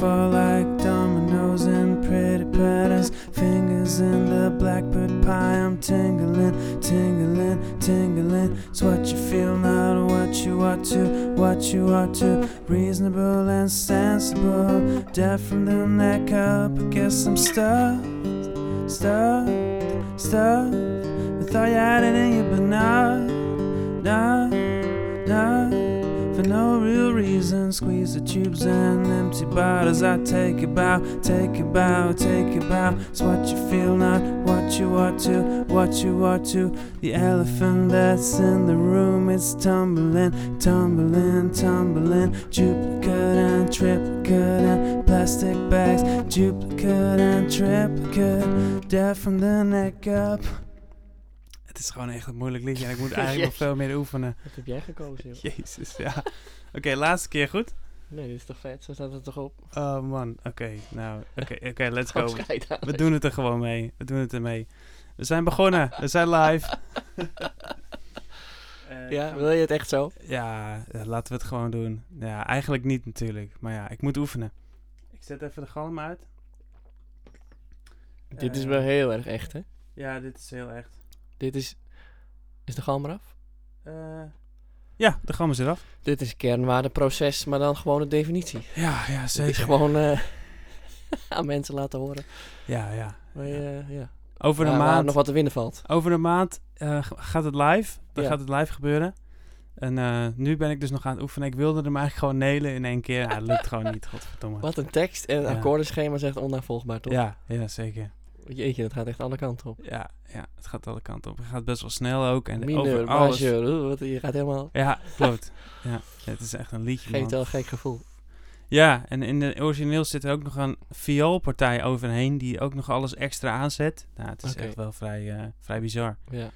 fall like dominoes and pretty patterns. Fingers in the blackbird pie, I'm tingling, tingling, tingling. It's what you feel, not what you ought to, what you ought to. Reasonable and sensible, deaf from the neck up. I guess I'm stuck, stuck, stuck. I thought you had it in you, but not, not, not. For no real reason, squeeze the tubes and empty bottles. I take a bow, take a bow, take a bow. It's what you feel, not what you ought to, what you ought to. The elephant that's in the room is tumbling, tumbling, tumbling. Duplicate and triplicate and plastic bags. Duplicate and triplicate. Death from the neck up. Het is gewoon echt een moeilijk liedje en ik moet eigenlijk nog Jezus. veel meer oefenen. Wat heb jij gekozen, joh? Jezus, ja. Oké, laatste keer goed. Nee, dit is toch vet? Zo staat het toch op? Oh man, oké. nou, oké, oké, let's Gewoon go. scheid aan. We doen het er gewoon mee. We doen het er mee. We zijn begonnen. We zijn live. Eh, Ja, wil je het echt zo? ja, eh, laten we het gewoon doen. Ja, eigenlijk niet natuurlijk. Maar ja, ik moet oefenen. Ik zet even de galm uit. Dit is Eh, wel heel erg echt, hè? Ja, dit is heel echt. Dit is... Is de galm eraf? Eh, ja, de galm is eraf. Dit is kernwaardeproces, maar dan gewoon de definitie. Ja, ja, Dit is zeker. gewoon eh, aan mensen laten horen. Ja, ja. Maar, Ja. eh, ja. Over een Waar- waar maand. nog wat te winnen valt. Over een maand eh, g- gaat het live. Dan Ja. gaat het live gebeuren. En eh, nu ben ik dus nog aan het oefenen. Ik wilde hem eigenlijk gewoon nelen in één keer. Ah, het lukt gewoon niet, godverdomme. Wat een tekst en Ja. een akkoordenschema is echt onnavolgbaar, toch? Ja, ja, zeker. Jeetje, dat gaat echt alle kanten op. Ja, ja, het gaat alle kanten op. Het gaat best wel snel ook. En Mineur, over alles. majeur, oeh, wat- je gaat helemaal... Ja, klopt. ja. ja, het is echt een liedje, Geeft man. wel een gek gevoel. Ja, en in de origineel zit er ook nog een vioolpartij overheen... die ook nog alles extra aanzet. Nou, het is Oké. echt wel vrij, eh, vrij bizar. Ja.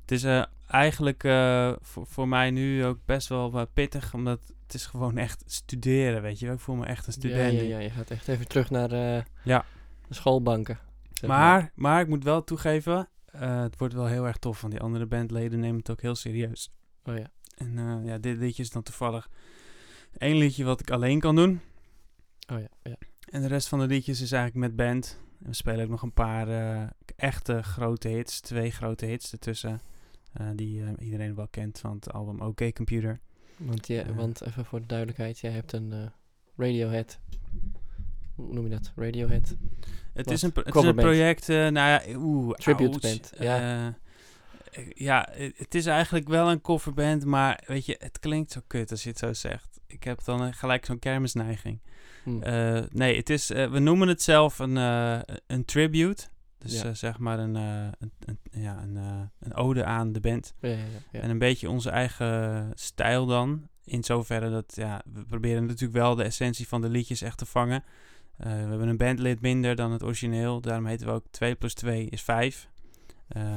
Het is eh, eigenlijk eh, voor, voor mij nu ook best wel wat pittig, omdat het is gewoon echt studeren, weet je wel. Ik voel me echt een Ja, student. ja, nu. ja, je gaat echt even terug naar eh, Ja. de schoolbanken. zeg Maar, maar ik moet wel toegeven, eh, het wordt wel heel erg tof, want die andere bandleden nemen het ook heel serieus. Oh ja. En eh, ja, dit liedje is dan toevallig één liedje wat ik alleen kan doen. Oh ja, ja. En de rest van de liedjes is eigenlijk met band. En we spelen ook nog een paar eh, echte grote hits, twee grote hits ertussen. eh, die eh, iedereen wel kent van het album OK Computer. Eh, Want, je, Ja. want even voor de duidelijkheid, jij hebt een eh, Radiohead. Hoe noem je dat? Radiohead. Het Wat? is een, pro- het is een Coverband. project, eh, nou ja, oeh, Tribute ouds. band, ja. Eh, eh, ja, eh, het is eigenlijk wel een coverband, maar weet je, het klinkt zo kut als je het zo zegt. Ik heb dan eh, gelijk zo'n kermisneiging. Hm. Eh, nee, het is, eh, we noemen het zelf een, eh, een tribute. Dus Ja. eh, zeg maar een, eh, een, een- ja, een, eh, een ode aan de band. ja, ja, ja, ja. En een beetje onze eigen stijl dan. In zoverre dat, ja, we proberen natuurlijk wel de essentie van de liedjes echt te vangen. Eh, we hebben een bandlid minder dan het origineel. Daarom heten we ook 2 plus 2 is 5. Eh,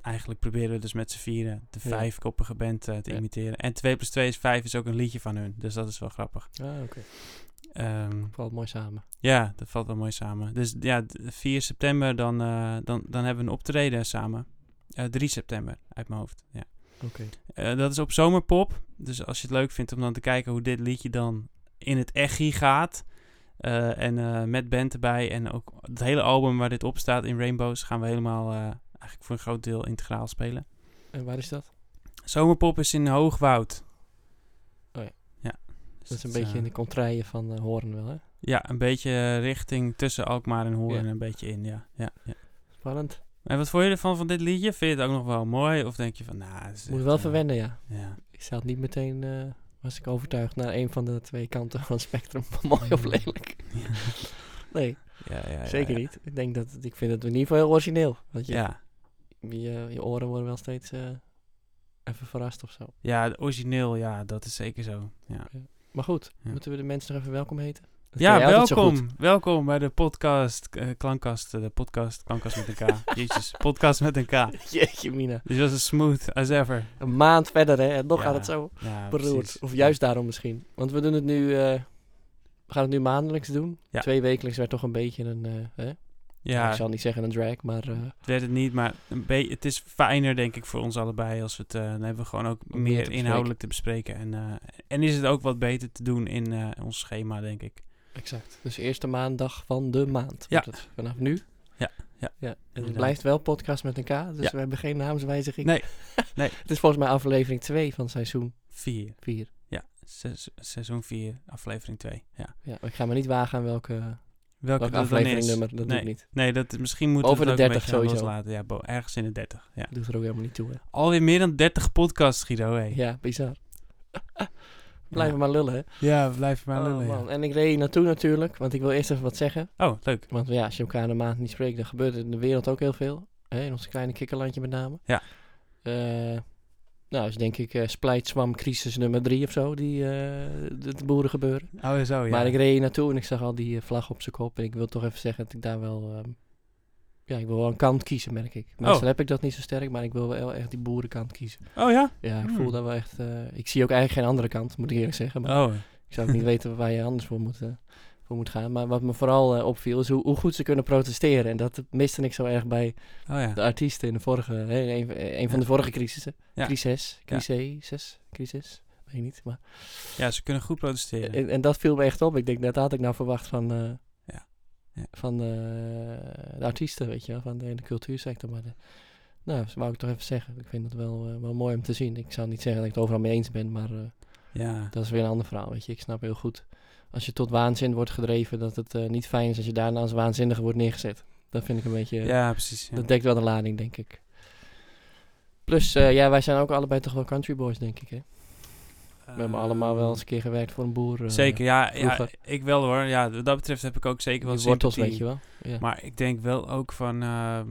eigenlijk proberen we dus met z'n vieren de Ja. vijfkoppige band eh, te Ja. imiteren. En 2 plus 2 is 5 is ook een liedje van hun. Dus dat is wel grappig. ah, oké. Ehm, Valt mooi samen. ja, dat valt wel mooi samen. Dus ja, d- 4 september dan, eh, dan, dan hebben we een optreden samen. Eh 3 september uit mijn hoofd, ja. Oké. Eh, dat is op Zomerpop. Dus als je het leuk vindt om dan te kijken hoe dit liedje dan in het echi gaat. eh, en eh, met band erbij. En ook het hele album waar dit op staat in Rainbows gaan we helemaal eh, eigenlijk voor een groot deel integraal spelen. En waar is dat? Zomerpop is in Hoogwoud. Oh ja. Ja. Dus Dat is een eh, beetje in de contraien van eh, Hoorn wel, hè? Ja, een beetje richting tussen Alkmaar en Hoorn Ja. een beetje in, ja. ja, ja. Spannend. En wat vond je ervan van dit liedje? Vind je het ook nog wel mooi? Of denk je van, nou... het is Moet echt, wel eh, verwennen, ja. Ja. Ik zat niet meteen, eh, was ik overtuigd, naar een van de twee kanten van het spectrum. mooi of lelijk. Ja. Nee, Mm. Ja, ja, ja, zeker ja. niet. Ik denk dat, ik vind het in ieder geval heel origineel. Want je, Ja. je, je oren worden wel steeds eh, even verrast of zo. ja, origineel, ja, dat is zeker zo. Ja. Maar goed, Ja. moeten we de mensen nog even welkom heten? Dat Ja, kun jij altijd zo goed. welkom. Welkom bij de podcast, eh, Klankkast, eh, de podcast, Klankkast met een K. Jezus, podcast met een K. Jeetje mina. Dit was as smooth as ever. Een maand verder hè, en nog Ja, gaat het zo Ja, beroerd. precies. Of juist daarom misschien. Want we doen het nu, eh, we gaan het nu maandelijks doen. Ja. Twee wekelijks werd toch een beetje een, eh, hè? Nou, Ja, ik zal niet zeggen een drag, maar eh, het werd het niet, maar een be- het is fijner, denk ik, voor ons allebei. Als we het, eh, dan hebben we gewoon ook meer te meer bespreken. inhoudelijk te bespreken. En, eh, en is het ook wat beter te doen in eh, ons schema, denk ik. exact. Dus eerste maandag van de maand. Ja. wordt het vanaf nu. Ja, ja. Het inderdaad. blijft wel podcast met een K, dus Ja. we hebben geen naamswijziging. Nee. Nee. het is volgens mij aflevering 2 van seizoen Vier. 4. Ja, Seiz- seizoen 4, aflevering 2. Ja. Ja, ik ga me niet wagen aan welke, welke, Welke, dat dan aflevering is? nummer, dat doe ik niet. Nee, dat, misschien moeten Over we de het ook 30 een beetje sowieso. loslaten. Ja, bo- ergens in de 30. Ja. Dat doet er ook helemaal niet toe, hè. Alweer meer dan 30 podcasts, Guido. Hey. Ja, bizar. Blijven Ja. maar lullen, hè. Ja, blijf maar Oh, man. En ik reed hier naartoe natuurlijk, want ik wil eerst even wat zeggen. Oh, leuk. Want ja, als je elkaar een maand niet spreekt, dan gebeurt er in de wereld ook heel veel. Hè? In ons kleine kikkerlandje met name. Ja. Eh, nou, is denk ik eh splijtswam crisis nummer drie of zo, die eh, de, de boeren gebeuren. Oh, zo, ja. Maar ik reed hier naartoe en ik zag al die eh, vlag op zijn kop. En ik wil toch even zeggen dat ik daar wel... ehm, ja, ik wil wel een kant kiezen, merk ik. Meestal heb ik dat niet zo sterk, maar ik wil wel echt die boerenkant kiezen. Oh, ja? Ja, ik Hmm. voel daar wel echt... eh, ik zie ook eigenlijk geen andere kant, moet ik eerlijk zeggen. Maar Oh, ik zou ook niet weten waar je anders voor moet, eh, voor moet gaan. Maar wat me vooral eh, opviel is hoe, hoe goed ze kunnen protesteren. En dat miste ik zo erg bij oh ja. de artiesten in de vorige, hè, in een, eh, een van de vorige crisissen. Ja. Crisis, Ja. crisis, crisis, weet ik niet. Maar, Ja, ze kunnen goed protesteren. en, en dat viel me echt op. Ik denk, dat had ik nou verwacht van, eh, Ja. Ja. van eh, de artiesten, weet je wel, van de, de cultuursector. Maar de- nou, dat wou ik toch even zeggen. Ik vind het wel, eh, wel mooi om te zien. Ik zou niet zeggen dat ik het overal mee eens ben, maar... eh, ja. dat is weer een ander verhaal, weet je. Ik snap heel goed. Als je tot waanzin wordt gedreven, dat het eh, niet fijn is als je daarna als waanzinnige wordt neergezet. Dat vind ik een beetje... ja, precies. ja. eh, Dat dekt wel de lading, denk ik. Plus, eh, ja, wij zijn ook allebei toch wel country boys, denk ik, hè? We hebben allemaal wel eens een keer gewerkt voor een boer. eh, Ehm, Zeker, ja, ja. vroeger. Ik wel hoor. Ja, wat dat betreft heb ik ook zeker wel die wortels, sympathie. weet je wel. Ja. Maar ik denk wel ook van... ehm,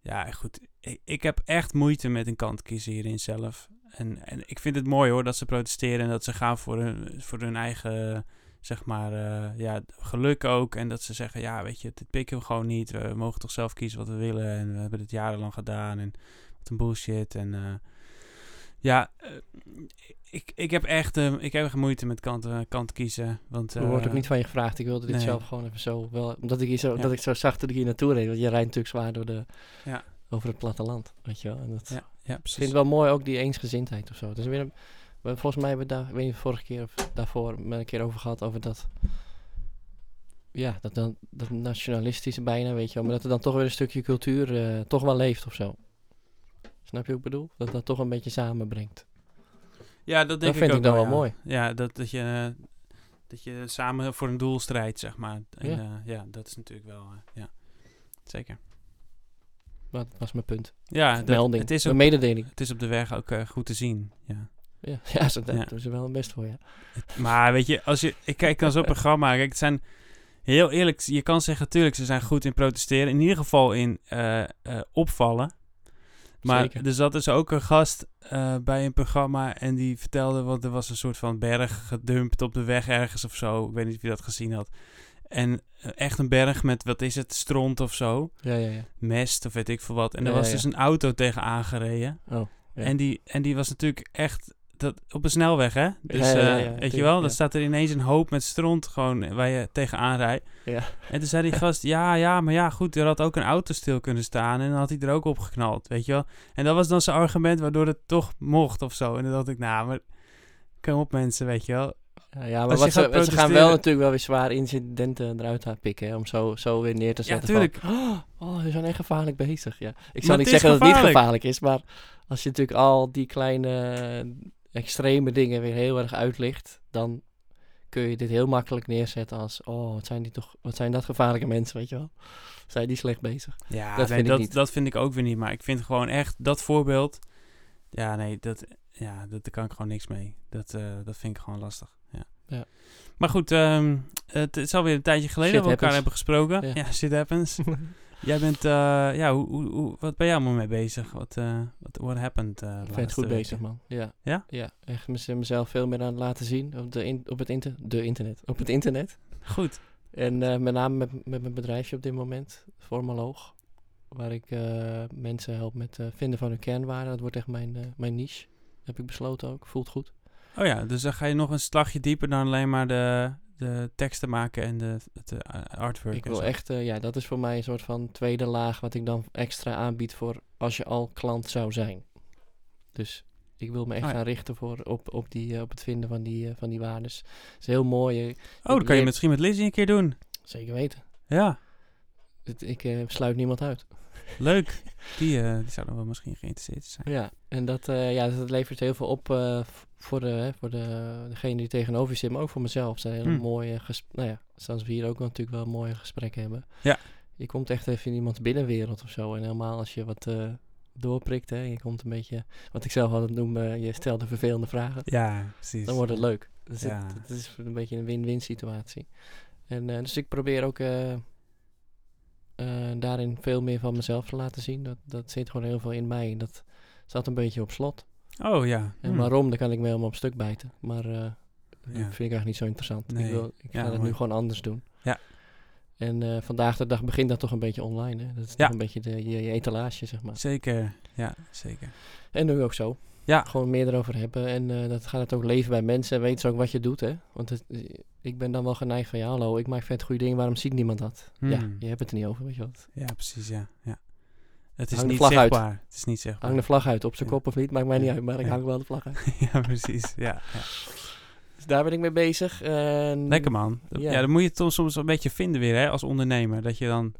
ja, goed. Ik, ik heb echt moeite met een kant kiezen hierin zelf. En, en ik vind het mooi hoor dat ze protesteren en dat ze gaan voor hun, voor hun eigen, zeg maar, eh, ja, geluk ook. En dat ze zeggen, ja, weet je, dit pikken we gewoon niet. We mogen toch zelf kiezen wat we willen. En we hebben dit jarenlang gedaan. En wat een bullshit. En eh, ja, eh, ik, ik heb echt eh, ik heb echt moeite met kant, eh, kant kiezen. Want, er wordt ook eh, niet van je gevraagd. Ik wilde dit nee. zelf gewoon even zo... Wel, omdat ik, hier zo, Ja. dat ik zo zag dat ik hier naartoe reed. Want je rijdt natuurlijk zwaar door de, Ja. over het platteland, weet je wel. En dat, Ja, ja, Ik vind precies. het wel mooi ook die eensgezindheid of zo. Dus weer, een- we, volgens mij hebben we daar, ik weet niet, vorige keer of daarvoor met een keer over gehad over dat. Ja, dat, dan, dat nationalistische bijna, weet je wel. Maar dat er dan toch weer een stukje cultuur eh, toch wel leeft of zo. Snap je wat ik bedoel? Dat dat toch een beetje samenbrengt. Ja, dat denk vind ook ik dan wel ja. mooi. Ja, dat, dat, je, eh, dat je samen voor een doel strijdt, zeg maar. En, Ja. ja. ja, dat is natuurlijk wel, eh, ja, zeker. Maar dat was mijn punt. Ja, dat- Melding. het, is een op, mededeling. het is op de weg ook eh, goed te zien, ja. Ja, ja, ze, daar Ja. doen ze wel hun best voor, ja. Maar weet je, als je, ik kijk dan zo'n programma, kijk, het zijn, heel eerlijk, je kan zeggen, tuurlijk, ze zijn goed in protesteren. In ieder geval in eh, eh, opvallen. Maar Zeker. er zat dus ook een gast eh, bij een programma en die vertelde, want er was een soort van berg gedumpt op de weg ergens of zo. Ik weet niet of je dat gezien had. En eh, echt een berg met, wat is het, stront of zo, Ja, ja, ja. mest of weet ik veel wat. En Ja, er ja, was ja. dus een auto tegen aangereden. Oh, ja. En, die, en die was natuurlijk echt dat, op een snelweg, hè? Dus ja, eh, ja, ja, weet tuurlijk, je wel, ja. dan staat er ineens een hoop met stront gewoon waar je tegenaan rijdt. Ja. En toen zei die gast, ja, ja, maar ja, goed, er had ook een auto stil kunnen staan en dan had hij er ook op geknald, weet je wel. En dat was dan zijn argument waardoor het toch mocht of zo. En dan dacht ik, nou, maar kom op mensen, weet je wel. Ja, ja, maar Als je wat gaat ze, ze gaan protesteren- wel natuurlijk wel weer zwaar incidenten eruit haar pikken. Hè, om zo, zo weer neer te Ja, zetten. tuurlijk. Van, oh, oh, ze zijn echt gevaarlijk bezig. Ja. Ik Maar zou niet het is zeggen dat het niet gevaarlijk. gevaarlijk is. Maar als je natuurlijk al die kleine eh, extreme dingen weer heel erg uitlicht. Dan kun je dit heel makkelijk neerzetten als... Oh, wat zijn, die toch, wat zijn dat gevaarlijke mensen, weet je wel. Zijn die slecht bezig? Ja, Dat nee, vind ik dat, niet. dat vind ik ook weer niet, maar ik vind gewoon echt dat voorbeeld, ja, nee, dat, ja, dat, daar kan ik gewoon niks mee. Dat, eh, dat vind ik gewoon lastig, ja. Ja. Maar goed, ehm, het is alweer een tijdje geleden Shit dat we elkaar hebben happens. gesproken. Ja, Ja. shit happens. Jij bent, eh, ja, hoe, hoe, hoe- wat ben jij allemaal mee bezig? Wat, eh wat what happened? eh, Ik vind het laatste goed bezig, weken? man. Ja. Ja? Ja, echt mez- mezelf veel meer aan het laten zien. Op, de in- op het inter de internet. Op het internet. Goed. En eh, met name met, met mijn bedrijfje op dit moment, Formaloog. Waar ik eh, mensen help met eh, vinden van hun kernwaarden. Dat wordt echt mijn, eh, mijn niche. Heb ik besloten ook. Voelt goed. Oh ja, dus dan ga je nog een slagje dieper dan alleen maar de, de teksten maken en de, het eh, artwork. ik en wil zo. echt, eh, ja, dat is voor mij een soort van tweede laag. Wat ik dan extra aanbied voor als je al klant zou zijn. Dus Ik wil me echt Oh ja. gaan richten voor, op, op, die, eh, op het vinden van die, eh, van die waardes. Het is heel mooi. eh, Oh, dat kan je leer- misschien met Lizzie een keer doen. Zeker weten. Ja, Het- ik eh, sluit niemand uit. leuk. Die, eh die zouden wel misschien geïnteresseerd zijn. Ja, en dat, eh, ja, dat levert heel veel op eh, v- voor, de, hè, voor de, degene die tegenover je zit, maar ook voor mezelf. Het zijn hele Hmm. mooie gesprekken. Nou ja, zoals we hier ook natuurlijk wel mooie gesprekken hebben. Ja. Je komt echt even in iemands binnenwereld of zo. En helemaal als je wat eh, doorprikt, hè, je komt een beetje, wat ik zelf altijd noem, eh, je stelt de vervelende vragen. Ja, precies. Dan wordt het leuk. Dus het- Ja. het, is een beetje een win-win situatie. En, eh, dus ik probeer ook eh, eh, daarin veel meer van mezelf te laten zien. Dat, dat zit gewoon heel veel in mij. En dat staat een beetje op slot. Oh ja. En Hm. waarom, daar kan ik me helemaal op stuk bijten. Maar eh, dat Ja. vind ik eigenlijk niet zo interessant. Nee. Ik, wil, ik Ja, ga dat mooi. nu gewoon anders doen. Ja. En eh, vandaag de dag begint dat toch een beetje online. Hè? Dat is Ja. toch een beetje de, je, je etalage, zeg maar. Zeker. Ja, zeker. En nu ook zo. Ja. Gewoon meer erover hebben. En eh, dat gaat het ook leven bij mensen. En weten ze ook wat je doet, hè. Want het, eh, ik ben dan wel geneigd van... Ja, hallo, ik maak vet goede dingen. Waarom ziet niemand dat? Ja, Hmm. je hebt het er niet over, weet je wat. Ja, precies, ja. ja. Het Hang is de niet vlag uit. zichtbaar. Het is niet zichtbaar. Hang de vlag uit. Op zijn Ja. kop of niet, maakt mij niet uit. Maar ik Ja. hang wel de vlag uit. ja, precies. Ja, ja. Dus daar ben ik mee bezig. En Lekker man. Dat- Ja. Ja. dan moet je het toch soms een beetje vinden weer hè, als ondernemer. Dat je dan...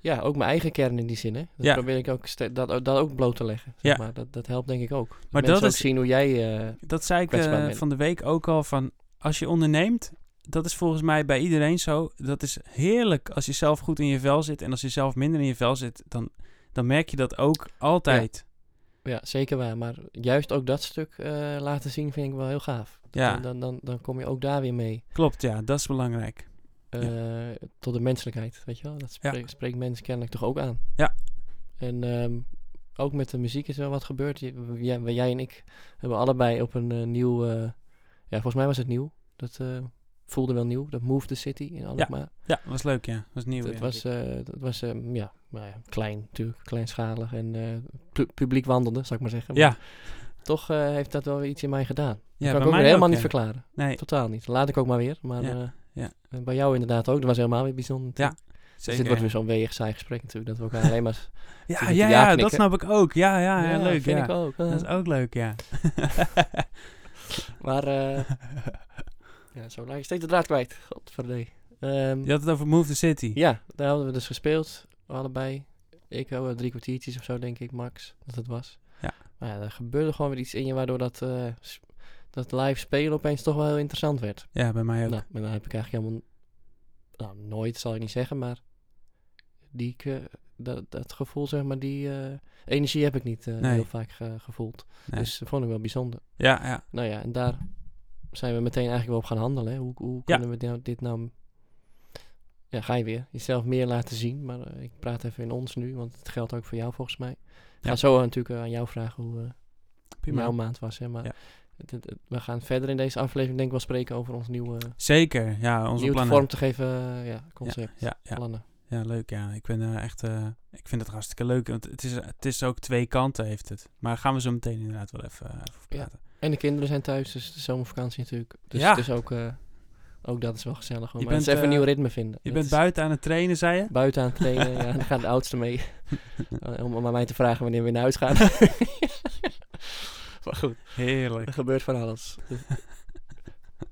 Ja, ook mijn eigen kern in die zin, hè. Dat Ja. probeer ik ook ste- dat, dat ook bloot te leggen. Zeg Ja. maar. dat, dat helpt denk ik ook. Maar mensen dat ook is- zien hoe jij... eh, Dat zei ik eh, Kwetsbaar ben. van de week ook al van... Als je onderneemt, dat is volgens mij bij iedereen zo. Dat is heerlijk als je zelf goed in je vel zit. En als je zelf minder in je vel zit, dan, dan merk je dat ook altijd. ja, zeker waar. Maar juist ook dat stuk eh, laten zien vind ik wel heel gaaf. Ja. Dan, dan, dan, dan kom je ook daar weer mee. Klopt, ja. Dat is belangrijk. eh, tot de menselijkheid, weet je wel. Dat Ja. spreekt, spreekt mensen kennelijk toch ook aan. Ja. En ehm, ook met de muziek is wel wat gebeurd. Je- Jij, jij en ik hebben allebei op een eh, nieuw... eh, ja, volgens mij was het nieuw. Dat eh, voelde wel nieuw. Dat Move the City in Alkmaar. Ja, was leuk, ja. was nieuw. Het ja. was, eh, het was ehm, ja, nou ja, klein natuurlijk, kleinschalig en eh, pu- publiek wandelde, zou ik maar zeggen. ja, Maar toch eh, heeft dat wel weer iets in mij gedaan. ja bij dat kan ik ook mij weer helemaal niet ja. verklaren. Nee, Totaal niet. Laat ik ook maar weer. Maar Ja, eh, ja. en bij jou inderdaad ook. Dat was helemaal weer bijzonder. Ja, Dus zeker. dit wordt weer zo'n weeg saai gesprek natuurlijk, dat we elkaar alleen maar... ja, dat je ja, ja ja, dat knikken. snap ik ook. Ja, Ah, ja, ja, leuk. vind ja. ik ook. eh. Dat is ook leuk, ja. Maar, eh, ja, zo raak je steeds de draad kwijt. Godverdee. Ehm Je had het over Move the City. Ja, daar hadden we dus gespeeld, allebei. Ik ook wel eh, drie kwartiertjes of zo, denk ik, max, dat het was. Ja. Maar ja, er gebeurde gewoon weer iets in je, waardoor dat, eh, s- dat live spelen opeens toch wel heel interessant werd. Ja, bij mij ook. Nou, maar dan heb ik eigenlijk helemaal... Nou, nooit zal ik niet zeggen, maar... Die, ke- dat, dat gevoel, zeg maar, die eh, energie heb ik niet eh, Nee. heel vaak ge- gevoeld. Nee. Dus dat vond ik wel bijzonder. Ja, ja. Nou ja, en daar zijn we meteen eigenlijk wel op gaan handelen. Hè? Hoe, hoe Ja. kunnen we dit nou, dit nou... Ja, ga je weer. Jezelf meer laten zien. Maar eh, ik praat even in ons nu, want het geldt ook voor jou volgens mij. Ik ga Ja. zo natuurlijk eh, aan jou vragen hoe eh, Prima. jouw maand was. Hè? Maar Ja. het- het- het- we gaan verder in deze aflevering denk ik wel spreken over ons nieuwe, Zeker, ja, onze nieuwe plannen. vorm te geven eh, ja, concept. Ja, ja, Plannen. ja, leuk, ja. Ik ben eh, echt, eh, ik vind het hartstikke leuk. Want het is, het is ook twee kanten, heeft het. Maar daar gaan we zo meteen inderdaad wel even, eh, over Ja. praten. En de kinderen zijn thuis, dus de zomervakantie natuurlijk. Dus Ja. het is ook, eh, ook dat is wel gezellig. hoor. Je Maar het is bent, even een eh, nieuw ritme vinden. Je Dat bent is- buiten aan het trainen, zei je? buiten aan het trainen. ja, dan gaat de oudste mee. Eh, om, om aan mij te vragen wanneer we naar huis gaan. maar goed, Heerlijk. er gebeurt van alles. Dus,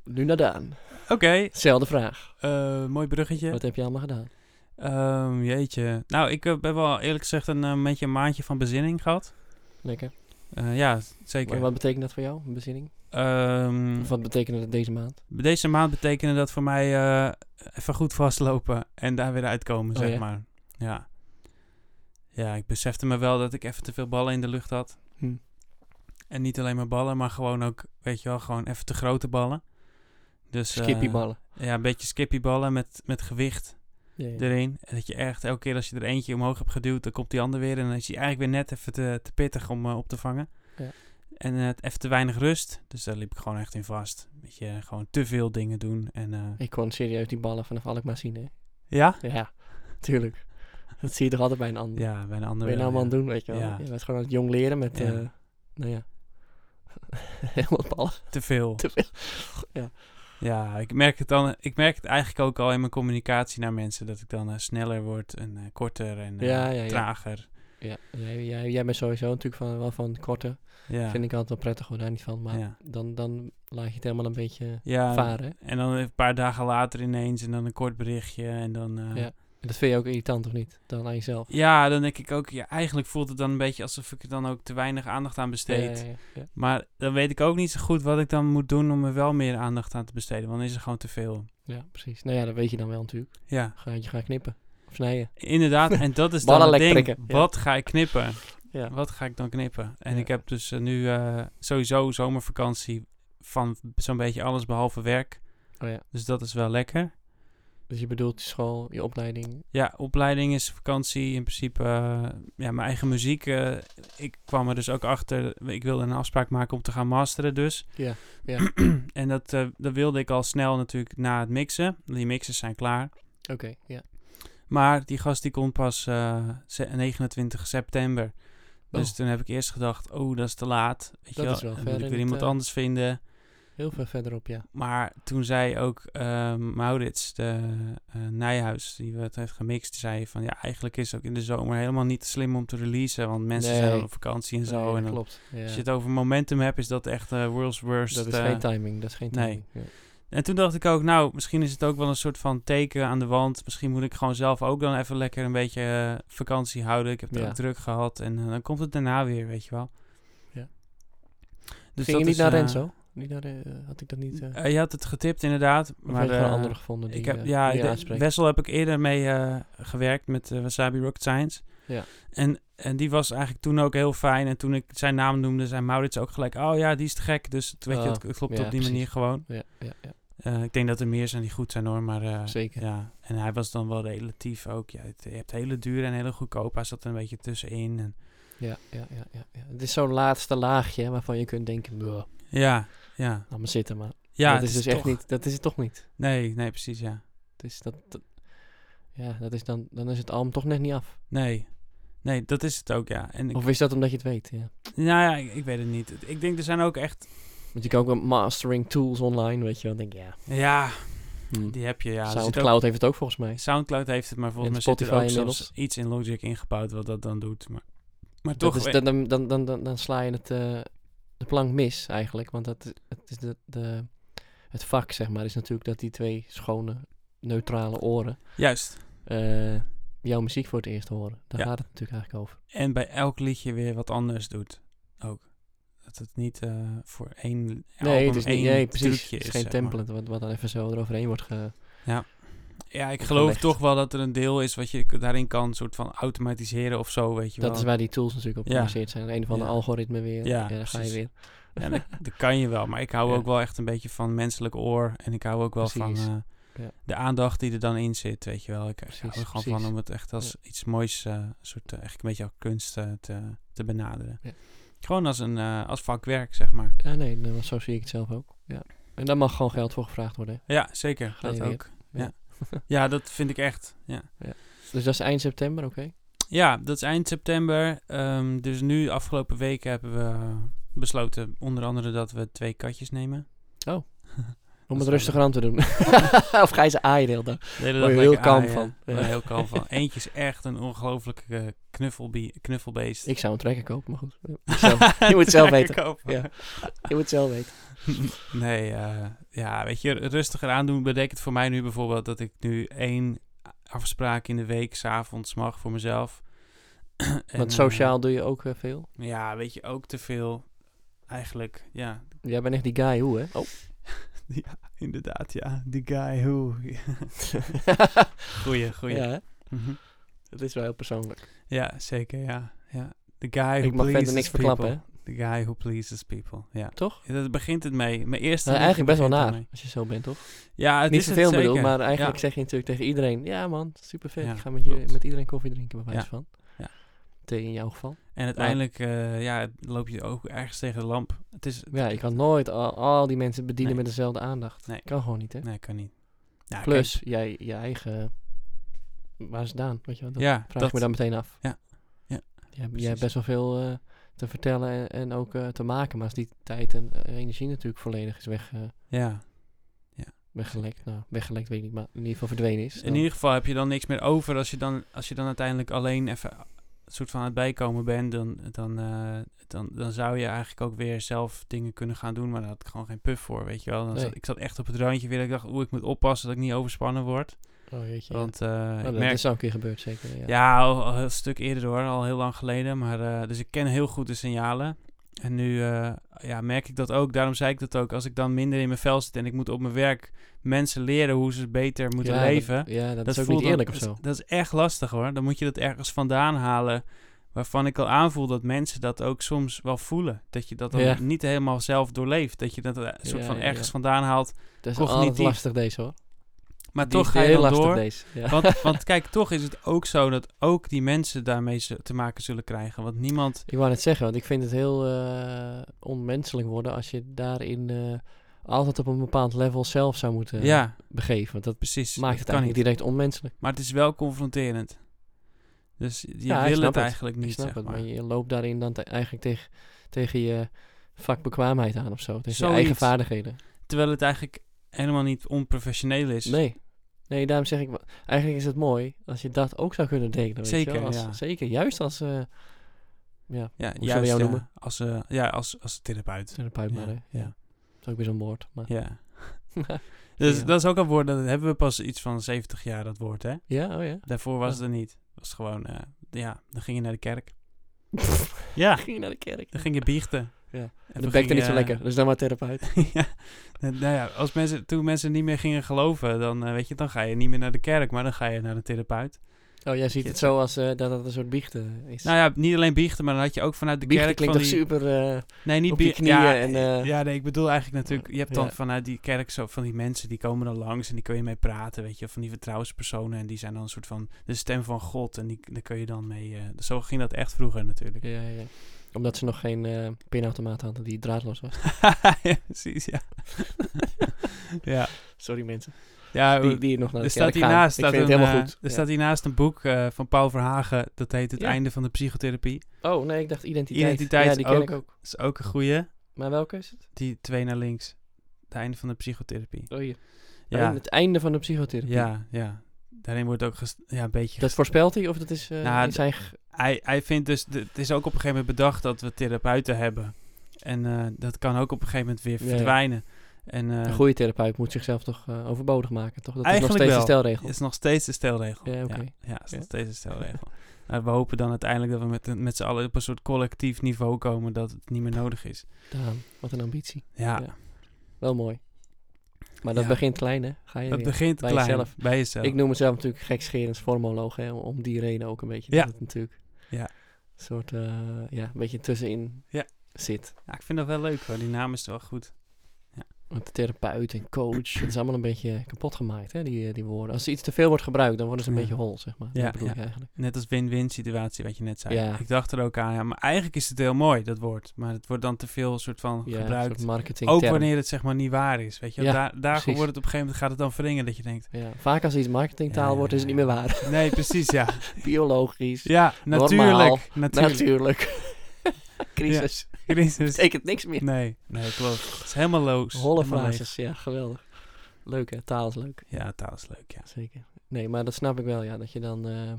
nu naar Daan. Oké, Zelfde vraag. eh, mooi bruggetje. Wat heb je allemaal gedaan? Ehm, jeetje. Nou, ik eh, heb wel eerlijk gezegd een eh, beetje een maandje van bezinning gehad. Lekker. Eh, ja, Maar zeker. wat betekent dat voor jou, een bezinning? Ehm, Of wat betekende dat deze maand? Deze maand betekende dat voor mij eh, even goed vastlopen en daar weer uitkomen, Oh, zeg ja? maar. Ja. ja, ik besefte me wel dat ik even te veel ballen in de lucht had. Hm. En niet alleen maar ballen, maar gewoon ook, weet je wel, gewoon even te grote ballen. Dus, eh, Skippyballen. ja, een beetje skippyballen met, met gewicht Ja, ja. erin. En dat je echt elke keer als je er eentje omhoog hebt geduwd, dan komt die ander weer. En dan is die eigenlijk weer net even te, te pittig om eh, op te vangen. Ja. En eh, even te weinig rust. Dus daar liep ik gewoon echt in vast. Weet je, gewoon te veel dingen doen. En, eh, Ik kon serieus die ballen vanaf Alkmaar zien, hè? ja? Ja, tuurlijk. Dat zie je toch altijd bij een ander. Ja, bij een andere Wat ben wel, je nou ja. aan het doen, weet je wel? Ja. Je bent gewoon aan het jong leren met, Ja. eh, nou ja, helemaal ballen. Te veel. Te veel. Ja, ik merk, het dan, ik merk het eigenlijk ook al in mijn communicatie naar mensen. Dat ik dan eh, sneller word en eh, korter en eh, Ja, ja, ja. trager. Ja, jij, jij, jij bent sowieso natuurlijk van, wel van korte. Ja. Vind ik altijd wel prettig hoor, daar niet van. Maar Ja. dan, dan laat je het helemaal een beetje ja, varen. En dan een paar dagen later ineens en dan een kort berichtje en dan... eh, Ja. En dat vind je ook irritant of niet? Dan aan jezelf. ja, dan denk ik ook, ja, eigenlijk voelt het dan een beetje alsof ik er dan ook te weinig aandacht aan besteed. Ja, ja, ja. Maar dan weet ik ook niet zo goed wat ik dan moet doen om er wel meer aandacht aan te besteden, want dan is er gewoon te veel. Ja, precies. Nou ja, dat weet je dan wel natuurlijk. Ja, Ga je gaan knippen of snijden. inderdaad. En dat is dan het Ballen ding. lek prikken, ja. Wat ga ik knippen? Ja. Wat ga ik dan knippen? En Ja. ik heb dus eh, nu eh, sowieso zomervakantie van zo'n beetje alles behalve werk. Oh ja. Dus dat is wel lekker. Dus je bedoelt je school, je opleiding. Ja, opleiding is vakantie. In principe, eh, ja, mijn eigen muziek. eh, ik kwam er dus ook achter. Ik wilde een afspraak maken om te gaan masteren dus. Ja, En dat, eh, dat wilde ik al snel natuurlijk na het mixen. Die mixes zijn klaar. oké. ja. Maar die gast die komt pas eh, ze- 29 september. Dus Oh. toen heb ik eerst gedacht, oh, dat is te laat. Weet Dat je wel, is wel dan ver moet in ik weer het, iemand eh, anders vinden. Heel veel verderop, ja. Maar toen zei ook eh, Maurits, de eh, Nijhuis, die het heeft gemixt, zei van ja, eigenlijk is het ook in de zomer helemaal niet slim om te releasen. Want mensen Nee. zijn dan op vakantie en zo. Nee, en dan- klopt. Ja. als je het over momentum hebt, is dat echt eh, world's worst. dat is eh, geen timing. Dat is geen nee. timing. Nee. en toen dacht ik ook, nou, misschien is het ook wel een soort van teken aan de wand. Misschien moet ik gewoon zelf ook dan even lekker een beetje eh, vakantie houden. Ik heb het Ja. ook druk gehad en eh, dan komt het daarna weer, weet je wel. Ja. Dus Ging je dat niet is, naar eh, Renzo? Niet naar, de- eh, had ik dat niet... eh eh, je had het getipt inderdaad, of maar had je gewoon eh, anderen gevonden die ik heb, eh, ja, die de- aanspreken? Wessel heb ik eerder mee eh, gewerkt met eh, Wasabi Rocket Science. Ja. En, en die was eigenlijk toen ook heel fijn. En toen ik zijn naam noemde, zei Maurits ook gelijk, oh ja, die is te gek. Dus het, weet je, Oh, het, het klopt ja, op die precies. manier gewoon. Ja, ja, ja. Eh, ik denk dat er meer zijn die goed zijn hoor, maar... eh, Zeker. Ja, en hij was dan wel relatief ook. Ja, het- je hebt hele dure en hele goedkoop. Hij zat er een beetje tussenin. En, Ja, ja, ja, ja, ja. Het is zo'n laatste laagje hè, waarvan je kunt denken, "Buh, ja, ja. laat maar zitten, maar Ja, dat het is dus echt toch- niet, dat is het toch niet. Nee, nee, precies, ja. Het is dat, dat- ja, dat is dan, dan is het album toch net niet af. Nee. Nee, dat is het ook, ja. En ik, Of is dat omdat je het weet, ja. nou ja, ik, ik weet het niet. Het- Ik denk, er zijn ook echt... Want je kan ook wel mastering tools online, weet je wel. Dan denk ik, ja, Ja, hm. die heb je, ja. Er zit ook- Soundcloud heeft het ook volgens mij. Soundcloud heeft het, maar volgens En mij zit er ook Spotify zelfs inmiddels. iets in Logic ingebouwd wat dat dan doet. Maar, maar Dat toch... is- dan, dan, dan, dan, dan, dan sla je het, eh, de plank mis eigenlijk. Want dat, is- het, is de, de, het vak, zeg maar, is natuurlijk dat die twee schone, neutrale oren Juist. eh, jouw muziek voor het eerst horen. Daar Ja. gaat het natuurlijk eigenlijk over. En bij elk liedje weer wat anders doet. Ook. Dat het niet eh, voor één Nee, album het is één niet, nee, precies. trucje Het is is, geen zeg maar. template wat, wat dan even zo eroverheen wordt ge... Ja, ik Of geloof gelegd. toch wel dat er een deel is wat je k- daarin kan soort van automatiseren of zo, weet je Dat wel. is waar die tools natuurlijk op Ja. gebaseerd zijn. Een van de Ja. algoritmen weer. Ja, Ja, daar ga je precies. weer. Ja, dat, dat kan je wel, maar ik hou Ja. ook wel echt een beetje van menselijk oor en ik hou ook wel Precies. van eh, Ja. de aandacht die er dan in zit, weet je wel. Ik, ik hou Precies, er gewoon precies. van om het echt als iets moois, eh, soort, eh, eigenlijk een beetje als kunst eh, te, te benaderen. Ja. Gewoon als, een, eh, als vakwerk, zeg maar. Ja, nee, nou, zo zie ik het zelf ook. Ja. En daar mag gewoon geld voor gevraagd worden. hè. Ja, zeker. Ga Dat je weer. ook. Ja. Ja. ja, dat vind ik echt, ja. Dus dat is eind september, oké? Ja, dat is eind september. Ehm, dus nu, afgelopen week, hebben we besloten onder andere dat we twee katjes nemen. Om is het wel rustiger aan te doen. of ga je ze aaien de hele dag? De hele Word je dag heel kalm aaien. van. Word je Ja. heel kalm van. Eentje is echt een ongelooflijke knuffelbie- knuffelbeest. Ik zou een trekker kopen, maar goed. Je moet zelf- je moet zelf weten. Kopen. Ja. Je moet zelf weten. Nee, eh, ja, weet je, rustiger aandoen betekent voor mij nu bijvoorbeeld dat ik nu één afspraak in de week, s'avonds mag voor mezelf. En, Want eh, sociaal doe je ook eh, veel. ja, weet je, ook te veel. Eigenlijk, ja, Jij bent echt die guy, hoe hè? Oh. Inderdaad, ja. Die guy who. goeie, goeie. Mhm. ja, Ja, hè? dat is wel heel persoonlijk. ja zeker, ja. ja. The guy who Ik mag verder pleases niks people. verklappen, hè? The guy who pleases people, ja. Toch? Ja, Daar begint het mee. Mijn eerste Nou, liedje eigenlijk best wel begint naar, ermee. als je zo bent, toch? Ja, het Niet is het zoveel zeker. bedoel, maar eigenlijk Ja. zeg je natuurlijk tegen iedereen... Ja man, super vet. Ja, ik ga met, je, klopt. met iedereen koffie drinken, bij wijze Ja. van. Ja. Thee in jouw geval. En uiteindelijk eh, ja, loop je ook ergens tegen de lamp. Het is... Ja, je kan nooit al, al die mensen bedienen Nee. met dezelfde aandacht. Nee. Kan gewoon niet, hè? Nee, kan niet. Nou, Plus, jij, je eigen... Waar is het aan? Weet je kijk, wel? Dat ja, vraag dat, ik me dan meteen af. Ja. Ja, Jij, jij precies. hebt best wel veel eh, te vertellen en, en ook eh, te maken. Maar als die tijd en eh, energie natuurlijk volledig is weg, eh, ja. weggelekt... Nou, weggelekt weet ik niet, maar in ieder geval verdwenen is. In dan- ieder geval heb je dan niks meer over als je dan, als je dan uiteindelijk alleen even soort van aan het bijkomen bent, dan, dan, eh, dan, dan zou je eigenlijk ook weer zelf dingen kunnen gaan doen. Maar daar had ik gewoon geen puff voor, weet je wel. Dan Nee. zat- ik zat echt op het randje weer. dat Ik dacht, oeh, ik moet oppassen dat ik niet overspannen word. Oh, jeetje. Want eh, ja. ik Oh, dat merk is al een keer gebeurd, zeker. Ja. ja, al, al een stuk eerder hoor, al heel lang geleden. Maar, eh, dus ik ken heel goed de signalen. En nu eh, ja, merk ik dat ook. Daarom zei ik dat ook. Als ik dan minder in mijn vel zit en ik moet op mijn werk mensen leren hoe ze beter moeten Ja, dat- leven. ja, dat, is ook voelt niet eerlijk of dan- zo. Dat, is- dat is echt lastig hoor. Dan moet je dat ergens vandaan halen. Waarvan ik al aanvoel dat mensen dat ook soms wel voelen. Dat je dat dan Ja. niet helemaal zelf doorleeft. Dat je dat eh, een soort Ja, van ja, ergens ja. vandaan haalt. Dat is cognitief. altijd lastig deze hoor. Maar Die toch is ga je heel dan lastig door. deze. Ja. Want, want kijk, toch is het ook zo dat ook die mensen daarmee zu- te maken zullen krijgen. Want niemand. Ik wou net zeggen, want ik vind het heel eh, onmenselijk worden als je daarin eh, altijd op een bepaald level zelf zou moeten ja, begeven. Want dat precies. maakt Dat het kan eigenlijk niet. direct onmenselijk. Maar het is wel confronterend. Dus je Ja, ik wil snap het het. eigenlijk niet. ik snap zeg het, maar. maar je loopt daarin dan te- eigenlijk tegen, tegen je vakbekwaamheid aan of zo. Tegen je Zoiets. eigen vaardigheden. Terwijl het eigenlijk helemaal niet onprofessioneel is. Nee. Nee, daarom zeg ik, wa- eigenlijk is het mooi als je dat ook zou kunnen delen. Weet Zeker, je wel? Als- ja. Zeker, juist als eh ja, Ja, juist, we jou ja, noemen? Als, eh, ja, als, als therapeut. therapeut maar. hè. Ja, ja. Dat is ook weer zo'n woord. Maar. ja. Dus Ja. dat is ook een woord, dat hebben we pas iets van 70 jaar, dat woord, hè? ja, oh ja. Daarvoor was Ja. het er niet. was gewoon, eh, ja, dan ging je naar de kerk. ja, Ging je naar de kerk? dan ging je biechten. Ja. En En toen dat bekte ging niet zo je- lekker, dus dan maar therapeut. ja, nou ja, als mensen, toen mensen niet meer gingen geloven, dan, eh, weet je, dan ga je niet meer naar de kerk, maar dan ga je naar een therapeut. Oh, jij ziet het zo als eh, dat het een soort biechten is. Nou ja, niet alleen biechten, maar dan had je ook vanuit de biechten kerk klinkt van toch die... super... eh, Nee, niet op je bie- knieën ja, en, eh, ja, nee, ik bedoel eigenlijk natuurlijk... Je hebt dan ja. vanuit die kerk zo van die mensen, die komen dan langs en die kun je mee praten, weet je. Van die vertrouwenspersonen en die zijn dan een soort van de stem van God en die, daar kun je dan mee... eh, zo ging dat echt vroeger natuurlijk. ja, ja. Omdat ze nog geen eh, pinautomaat hadden die draadloos was. ja, precies, ja. ja, Sorry mensen. ja Die, die nog naar de Oh, Er staat kerk gaan. hiernaast Ik staat vind een, het helemaal eh, goed. er staat hiernaast een boek eh, van Paul Verhagen. Dat heet Het Ja. Einde van de Psychotherapie. Ja. Oh, nee, ik dacht identiteit. Identiteit ja, die ken ook. ik ook. Dat is ook een goeie. Maar welke is het? Die twee naar links. Het Einde van de Psychotherapie. Oh, hier. Ja, Oh, het einde van de psychotherapie. ja, ja. Daarin wordt ook gest- ja, een beetje... Dat gest- voorspelt hij of dat is eh, Nou, in zijn... ge- hij, hij vindt dus... de- het is ook op een gegeven moment bedacht dat we therapeuten hebben. En eh, dat kan ook op een gegeven moment weer Ja, ja. verdwijnen. En eh, Een goede therapeut moet zichzelf toch eh, overbodig maken, toch? Dat is nog Eigenlijk steeds de wel. stelregel. is nog steeds de stelregel. Ja, oké. ja, ja, is nog Ja. steeds de stelregel. Nou, we hopen dan uiteindelijk dat we met, met z'n allen op een soort collectief niveau komen dat het niet meer nodig is. Daan, wat een ambitie. Ja, Ja. Wel mooi. Maar dat Ja. begint klein, hè? Ga je dat weer. begint bij klein. jezelf. Bij jezelf. Ik noem mezelf natuurlijk gekscherend formoloog, hè, om- om die reden ook een beetje. Ja. Dat het natuurlijk Ja. een soort, eh, ja, een beetje tussenin Ja. zit. Ja, ik vind dat wel leuk hoor, die naam is wel goed. Want therapeut en coach, het is allemaal een beetje kapot gemaakt, hè, die, eh, die woorden. Als er iets te veel wordt gebruikt, dan worden ze een Ja. beetje hol, zeg maar. Ja, dat bedoel ja. ik eigenlijk. Net als win-win situatie wat je net zei. Ja. Ik dacht er ook aan, ja, maar eigenlijk is het heel mooi dat woord. Maar het wordt dan te veel soort van Ja, een gebruikt. soort marketing Ook wanneer het zeg maar niet waar is, weet je. Ja, daar daar precies. wordt het op een gegeven moment gaat het dan verringen dat je denkt, Ja, vaak als iets marketingtaal Ja, ja, wordt, is het ja, niet meer waar. nee precies ja. Biologisch, Ja, Normaal. natuurlijk. Natuurlijk. natuurlijk. Crisis. Crisis. Betekent niks meer. Nee, nee klopt. Het is helemaal loos. Holle Helemaal leeg. frases, ja, geweldig. Leuk hè, taal is leuk. Ja, taal is leuk, ja. Zeker. Nee, maar dat snap ik wel, ja. Dat je dan... eh,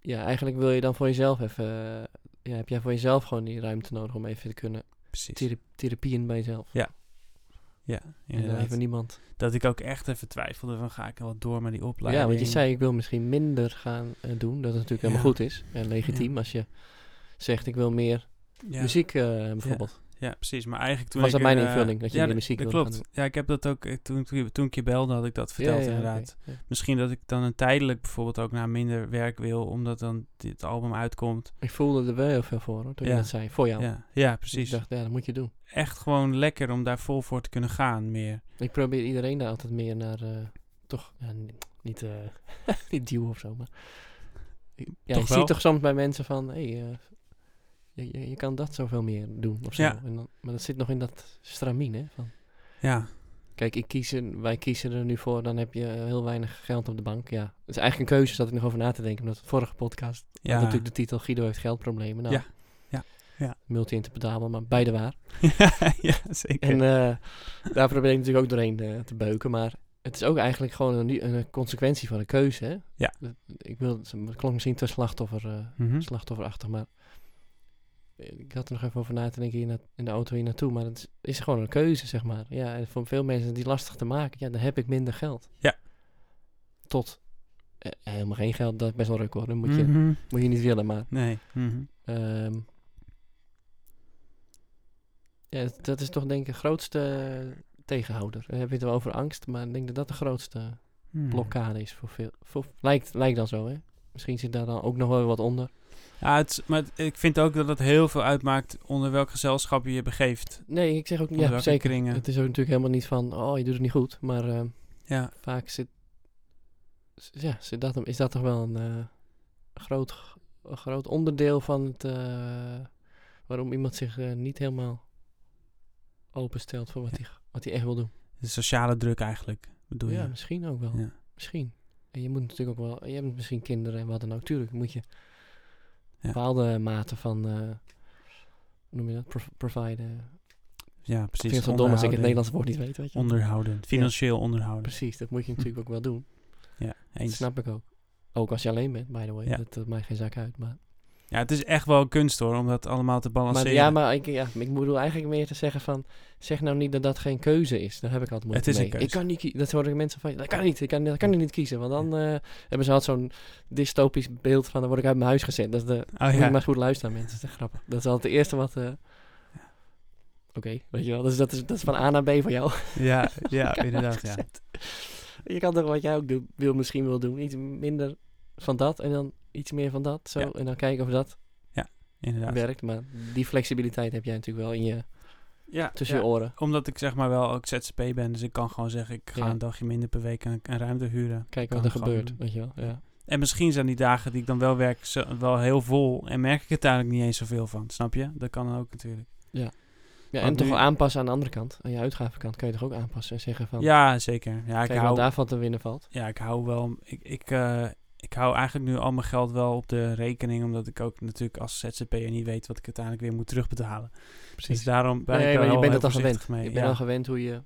ja, eigenlijk wil je dan voor jezelf even... eh, ja, heb jij voor jezelf gewoon die ruimte nodig om even te kunnen... Precies. Thera therapieën bij jezelf. Ja, En dan inderdaad. even niemand. Dat ik ook echt even twijfelde van ga ik wel door met die opleiding. Ja, want je zei ik wil misschien minder gaan eh, doen. Dat het natuurlijk Ja. helemaal goed is. En legitiem als je zegt ik wil meer Ja. muziek eh, bijvoorbeeld. Ja, precies. Maar eigenlijk toen Was ik, dat mijn eh, invulling, dat je ja, meer d- muziek dat wilde klopt. gaan Ja, ik heb dat ook... eh, Toen, toen, toen ik je belde had ik dat Ja, verteld ja, oké. inderdaad. Ja. Misschien dat ik dan een tijdelijk bijvoorbeeld ook naar minder werk wil... omdat dan dit album uitkomt. Ik voelde er wel heel veel voor hoor, toen Ja. je dat zei. Voor Ja, jou. Dus ja, precies. Ik dacht, ja, dat moet je doen. Echt gewoon lekker om daar vol voor te kunnen gaan meer. Ik probeer iedereen daar altijd meer naar, eh, toch, ja, n- niet, eh niet duwen of zo, maar... Ja, Toch je wel? ziet toch soms bij mensen van, hé, hey, eh, je, je, je kan dat zoveel meer doen of zo. Ja. En dan, maar dat zit nog in dat stramien, hè. Van, Ja, kijk, ik kies er- wij kiezen er nu voor, dan heb je eh, heel weinig geld op de bank, ja. Het is eigenlijk een keuze, zat ik nog over na te denken, omdat de vorige podcast ja. had natuurlijk de titel Guido heeft geldproblemen. Nou, Ja, ja, ja. Multi-interpretabel, maar beide waar. ja, zeker. En eh, daar probeer ik natuurlijk ook doorheen eh, te beuken. Maar het is ook eigenlijk gewoon een, nie- een consequentie van een keuze, hè? Ja. Dat- Ik wil, het klonk misschien te slachtoffer, eh, Mhm. slachtofferachtig, maar eh, ik had er nog even over na te denken hier na, in de auto hier naartoe. Maar het is, is gewoon een keuze, zeg maar. Ja, en voor veel mensen is die lastig te maken. Ja, dan heb ik minder geld. Ja. Tot eh, helemaal geen geld, dat is best wel ruk hoor. Dat moet, je, Mhm. moet je niet willen, maar... Nee. Mhm. ehm, ja, dat- dat is toch denk ik de grootste tegenhouder. Dan heb je het wel over angst, maar ik denk dat dat de grootste Hmm. blokkade is voor veel. Voor, lijkt, lijkt dan zo, hè? Misschien zit daar dan ook nog wel wat onder. Ja, het, is- maar het- ik vind ook dat het heel veel uitmaakt onder welk gezelschap je je begeeft. Nee, ik zeg ook niet. Onder Ja, welke zeker. kringen. Het is ook natuurlijk helemaal niet van, oh, je doet het niet goed. Maar eh, Ja. vaak zit, s- ja, zit dat, hem- is dat toch wel een eh, groot, g- een groot onderdeel van het, eh, waarom iemand zich eh, niet helemaal openstelt voor wat, hij, g- wat hij echt wil doen. De sociale druk eigenlijk, bedoel ja, je? misschien ook wel. Ja. Misschien. En je moet natuurlijk ook wel, je hebt misschien kinderen en wat dan ook. Tuurlijk moet je Ja. bepaalde mate van, eh, hoe noem je dat, Pro- providen. Ja, Ik precies. vind het zo dom als ik het Onderhouden. Nederlands woord niet weet, weet je. Onderhouden. Financieel onderhouden. Precies, dat moet je natuurlijk ook wel doen. Ja, eens. Dat snap ik ook. Ook als je alleen bent, by the way. Ja. Dat, dat maakt geen zak uit. Maar, Ja, het is echt wel een kunst hoor, om dat allemaal te maar, balanceren. ja, maar ik, ja, ik bedoel eigenlijk meer te zeggen van... Zeg nou niet dat dat geen keuze is. Daar heb ik altijd moeite Het is mee. een keuze. Ik kan niet kiezen. Dat hoor ik mensen van... Dat kan niet. Ik kan, dat kan ik niet kiezen. Want dan eh, hebben ze altijd zo'n dystopisch beeld van... Dan word ik uit mijn huis gezet. Dat is de... Oh, Moet ja. je maar goed luisteren mensen. Dat is echt grappig. Dat is altijd het eerste wat... eh, Oké, weet je wel. Dus dat is, dat is van A naar B voor jou. ja, ja, elkaar inderdaad. Ja. gezet. Je kan toch wat jij ook doe- wil, misschien wil doen. Iets minder van dat en dan iets meer van dat. Zo, Ja. En dan kijken of dat inderdaad. werkt. Maar die flexibiliteit heb jij natuurlijk wel in je, Ja, tussen ja. je oren. Omdat ik zeg maar wel ook ZZP ben, dus ik kan gewoon zeggen, ik ga Ja. een dagje minder per week een, een ruimte huren. Kijken Kan wat er gewoon gebeurt, doen. weet je wel. Ja. En misschien zijn die dagen die ik dan wel werk zo- wel heel vol en merk ik het eigenlijk niet eens zoveel van, snap je? Dat kan ook natuurlijk. Ja, en Want toch nu- wel aanpassen aan de andere kant. Aan je uitgavenkant kan je toch ook aanpassen en zeggen van... Ja, zeker. Ja, ik kijk wat hou, daarvan te winnen valt. ja, ik hou wel, ik, ik, eh, ik hou eigenlijk nu al mijn geld wel op de rekening, omdat ik ook natuurlijk als ZZP'er niet weet wat ik uiteindelijk weer moet terugbetalen. Dus Precies. daarom ben nee, ik er maar je wel bent heel het al voorzichtig gewend. mee. je bent ja, al gewend hoe je,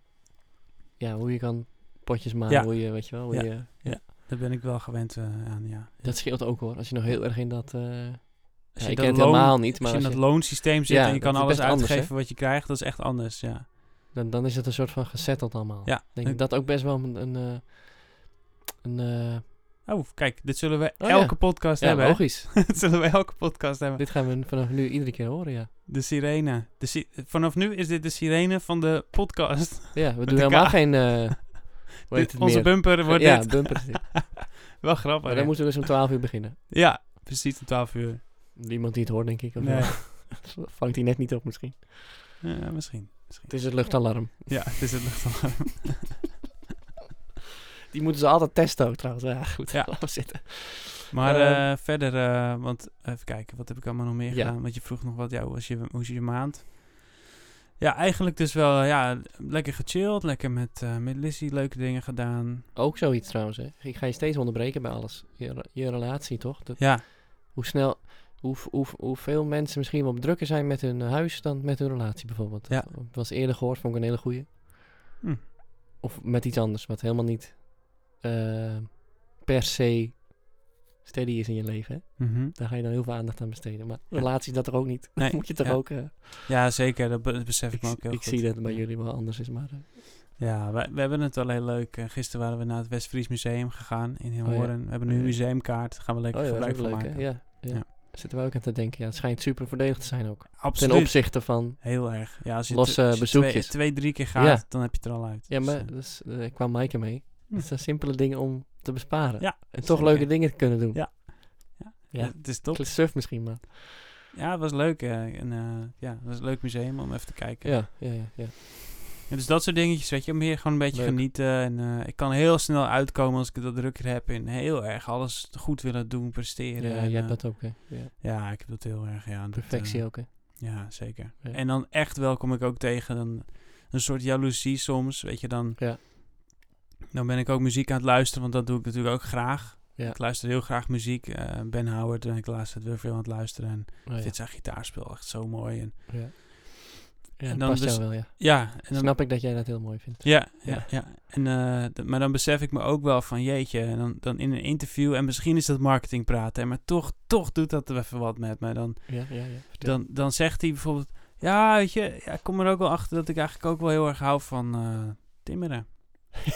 ja, hoe je kan potjes maken. Ja. Hoe je, weet je wel, hoe Ja. je, daar ben ik wel gewend eh, aan, ja. Dat scheelt ook hoor. Als je nog heel erg in dat... eh, Als ja, je ik dat ken het loon- helemaal niet, Als maar je in als dat je- loonsysteem zit Ja, en je dat kan is alles best anders, uitgeven wat je krijgt, dat is echt anders, ja. Dan, dan is het een soort van gesetteld allemaal. Ja. Denk ik dat ook best wel een. een, eh, een eh, Oh, kijk, dit zullen we Oh, ja. elke podcast ja, hebben. hè? logisch. dit zullen we elke podcast hebben. Dit gaan we vanaf nu iedere keer horen, ja. De sirene. De si- Vanaf nu is dit de sirene van de podcast. Ja, we de doen helemaal ka- geen. eh hoe heet Dit- het Onze meer? bumper wordt ja, dit. bumper. is dit. Wel grappig. maar hè? dan moeten we dus om 12 uur beginnen. Ja, precies om 12 uur. Niemand die het hoort, denk ik. Of Nee. wel. Vangt hij net niet op, misschien. Ja, misschien. misschien. Het is het luchtalarm. Ja, het is het luchtalarm. Die moeten ze altijd testen ook, trouwens. Ja, goed. Ja. Laten we zitten. Maar Eh, eh, verder, eh, want even kijken, wat heb ik allemaal nog meer Ja. gedaan? Want je vroeg nog wat, ja, hoe was je, hoe is je maand? Ja, eigenlijk dus wel, ja, lekker gechilled, lekker met, eh met Lizzie leuke dingen gedaan. Ook zoiets trouwens, hè. Ik ga je steeds onderbreken bij alles. Je, re- je relatie, toch? Dat- Ja, hoe snel, hoe, hoe, hoeveel mensen misschien wel drukker zijn met hun huis dan met hun relatie bijvoorbeeld. Ja. Dat was eerder gehoord, vond ik een hele goeie. Hm. Of met iets anders, wat helemaal niet eh, per se steady is in je leven. Hè? mhm. Daar ga je dan heel veel aandacht aan besteden. Maar Ja. relatie dat er ook niet. Nee, Moet je toch ja. ook... eh, ja zeker, dat be- dat besef ik, ik me ook heel ik goed. zie dat het bij jullie wel anders is, maar... eh, Ja, we, we hebben het wel heel leuk. Eh, gisteren waren we naar het Westfries Museum gegaan in ja. Heelhoorn. We hebben nu Oh, een ja. museumkaart, gaan we lekker oh ja, dat gebruik is van ook leuk, maken. hè? Ja, ja. Ja. Zitten we ook aan te denken. Ja, het schijnt super voordelig te zijn ook. Absoluut. Ten opzichte van... Heel erg. Ja, als je, Losse te- als je twee, bezoekjes. twee, drie keer gaat, Ja. dan heb je het er al uit. Ja, Dus, maar eh, dat is, eh, kwam Maaike mee. Hm. Het zijn simpele dingen om te besparen. Ja, En toch zeker. leuke dingen te kunnen doen. Ja. Ja. Ja. eh, het is top. Kle- Surf misschien, maar. Ja, het was leuk. eh, en, eh, ja, het was een leuk museum om even te kijken. Ja, ja, ja. ja. En dus dat soort dingetjes, weet je, om hier gewoon een beetje Leuk. genieten. En eh, ik kan heel snel uitkomen als ik dat drukker heb. En heel erg alles goed willen doen, presteren. ja en, jij hebt eh, dat ook, hè. Ja. ja ik heb dat heel erg, ja. dat, eh, Perfectie ook, hè. Ja, zeker. Ja. En dan echt wel kom ik ook tegen een, een soort jaloezie soms. Weet je, dan, Ja. dan ben ik ook muziek aan het luisteren, want dat doe ik natuurlijk ook graag. Ja. Ik luister heel graag muziek. eh, ben Howard en ik laatst het weer veel aan het luisteren. En ik Oh, ja. vind zijn gitaarspel echt zo mooi. En Ja. Ja, En dat dan past dus- jou wel, ja. Ja, en dan, Snap ik dat jij dat heel mooi vindt. ja, Ja. ja, ja. En, eh, d- maar dan besef ik me ook wel van, jeetje, en dan, dan in een interview, en misschien is dat marketing praten, hè, maar toch, toch doet dat even wat met mij. Dan, Ja, ja, ja. vertel. dan, dan zegt hij bijvoorbeeld, ja, weet je, ja, ik kom er ook wel achter dat ik eigenlijk ook wel heel erg hou van eh, timmeren.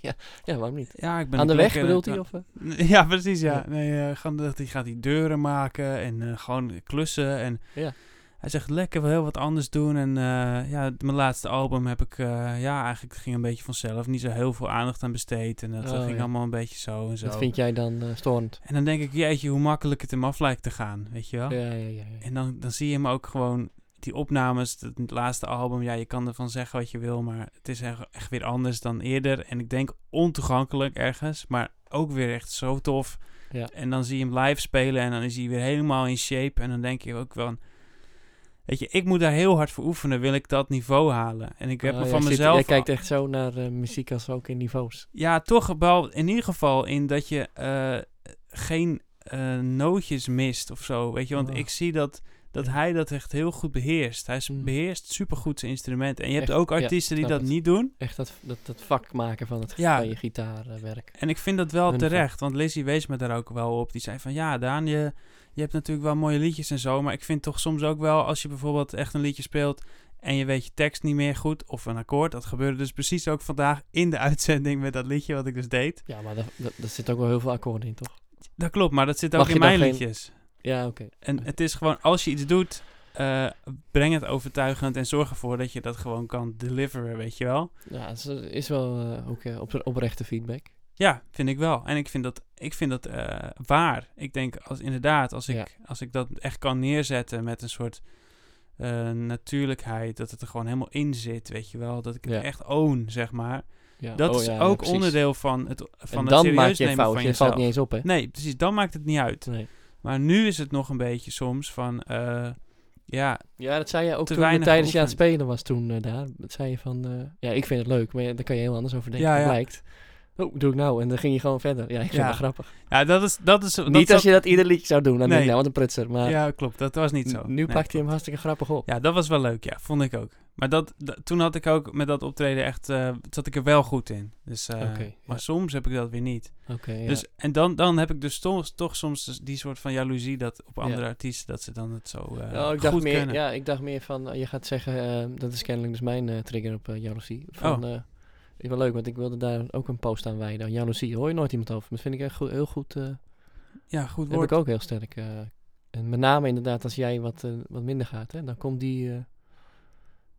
ja, ja, waarom niet? Ja, ik nou, ben Aan de een weg klinker- bedoelt hij? Of, eh? Ja, precies, ja. Ja. Nee, eh, gewoon dat hij gaat die deuren maken en eh, gewoon klussen. En Ja. Hij zegt, lekker wel heel wat anders doen. En eh, ja, d- mijn laatste album heb ik, eh, ja, eigenlijk ging een beetje vanzelf. Niet zo heel veel aandacht aan besteed. En dat, dat Oh, ging ja. allemaal een beetje zo en zo. Dat vind jij dan eh, storend? En dan denk ik, jeetje, hoe makkelijk het hem af lijkt te gaan, weet je wel. Ja, ja, ja. ja, ja. En dan, dan zie je hem ook gewoon, die opnames, dat laatste album. Ja, je kan ervan zeggen wat je wil, maar het is echt, echt weer anders dan eerder. En ik denk ontoegankelijk ergens, maar ook weer echt zo tof. Ja. En dan zie je hem live spelen en dan is hij weer helemaal in shape. En dan denk je ook wel, weet je, ik moet daar heel hard voor oefenen, wil ik dat niveau halen. En ik heb Oh, me jij van zit- mezelf... jij kijkt echt zo naar eh, muziek als ook in niveaus. Ja, toch wel in ieder geval in dat je eh, geen eh, nootjes mist of zo. Weet je, want Ah. ik zie dat, dat hij dat echt heel goed beheerst. Hij is- Mm. beheerst supergoed zijn instrument. En je hebt Echt, ook ja, artiesten die snap dat het. niet doen. Echt dat, dat, dat vak maken van, het, Ja. van je gitaarwerk. En ik vind dat wel Hun terecht, want Lizzie wees me daar ook wel op. Die zei van, ja Daan, je, je hebt natuurlijk wel mooie liedjes en zo, maar ik vind toch soms ook wel, als je bijvoorbeeld echt een liedje speelt en je weet je tekst niet meer goed of een akkoord, dat gebeurde dus precies ook vandaag in de uitzending met dat liedje wat ik dus deed. Ja, maar daar daar- daar zit ook wel heel veel akkoorden in, toch? Dat klopt, maar dat zit ook Mag in je dan mijn geen- liedjes. Ja, oké. En het is gewoon, als je iets doet, eh, breng het overtuigend en zorg ervoor dat je dat gewoon kan deliveren, weet je wel? Ja, het is, is wel eh, ook eh, op, oprechte feedback. Ja, vind ik wel. En ik vind dat, ik vind dat eh, waar. Ik denk als, inderdaad, als ik, Ja. als ik dat echt kan neerzetten met een soort eh, natuurlijkheid, dat het er gewoon helemaal in zit, weet je wel? Dat ik het Ja. echt own, zeg maar. Ja. Dat oh, is ja, ja, ook precies. onderdeel van het, van en het dan serieus maak je nemen fout. van Je jezelf. valt niet eens op, hè? Nee, precies. Dan maakt het niet uit. Nee. Maar nu is het nog een beetje soms van, eh, ja, Ja, dat zei je Te ook toen we weinig tijdens je aan het geoefend. spelen was toen eh, daar. Dat zei je van, eh, ja, ik vind het leuk, maar ja, daar kan je heel anders over denken. Ja, Ja, ja. Blijkt. Oh, doe ik nou? En dan ging je gewoon verder. Ja, ik vind Ja. het grappig. Ja, dat is... Dat is dat niet zat- als je dat ieder liedje zou doen, dan denk Nee. je, nou, wat een prutser. Maar Ja, klopt. Dat was niet zo. n- nu Nee, pakt hij hem klopt. hartstikke grappig op. Ja, dat was wel leuk. Ja, vond ik ook. Maar dat, dat- toen had ik ook met dat optreden echt... eh, zat ik er wel goed in. Dus, eh, Oké, Maar ja. soms heb ik dat weer niet. Oké, ja. Dus, en dan, dan heb ik dus toch, toch soms dus die soort van jaloezie... dat op andere artiesten dat ze dan het zo eh, Oh, ik dacht goed meer, kunnen. ja, ik dacht meer van, eh, je gaat zeggen, eh, dat is kennelijk dus mijn eh, trigger op eh, jaloezie. Van, Oh. eh, is wel leuk, want ik wilde daar ook een post aan wijden. Aan Jaloezie hoor je nooit iemand over. Dat vind ik echt goed, heel goed. eh Ja, goed heb woord. ik ook heel sterk. eh, en met name inderdaad als jij wat, eh, wat minder gaat, hè, dan komt die eh,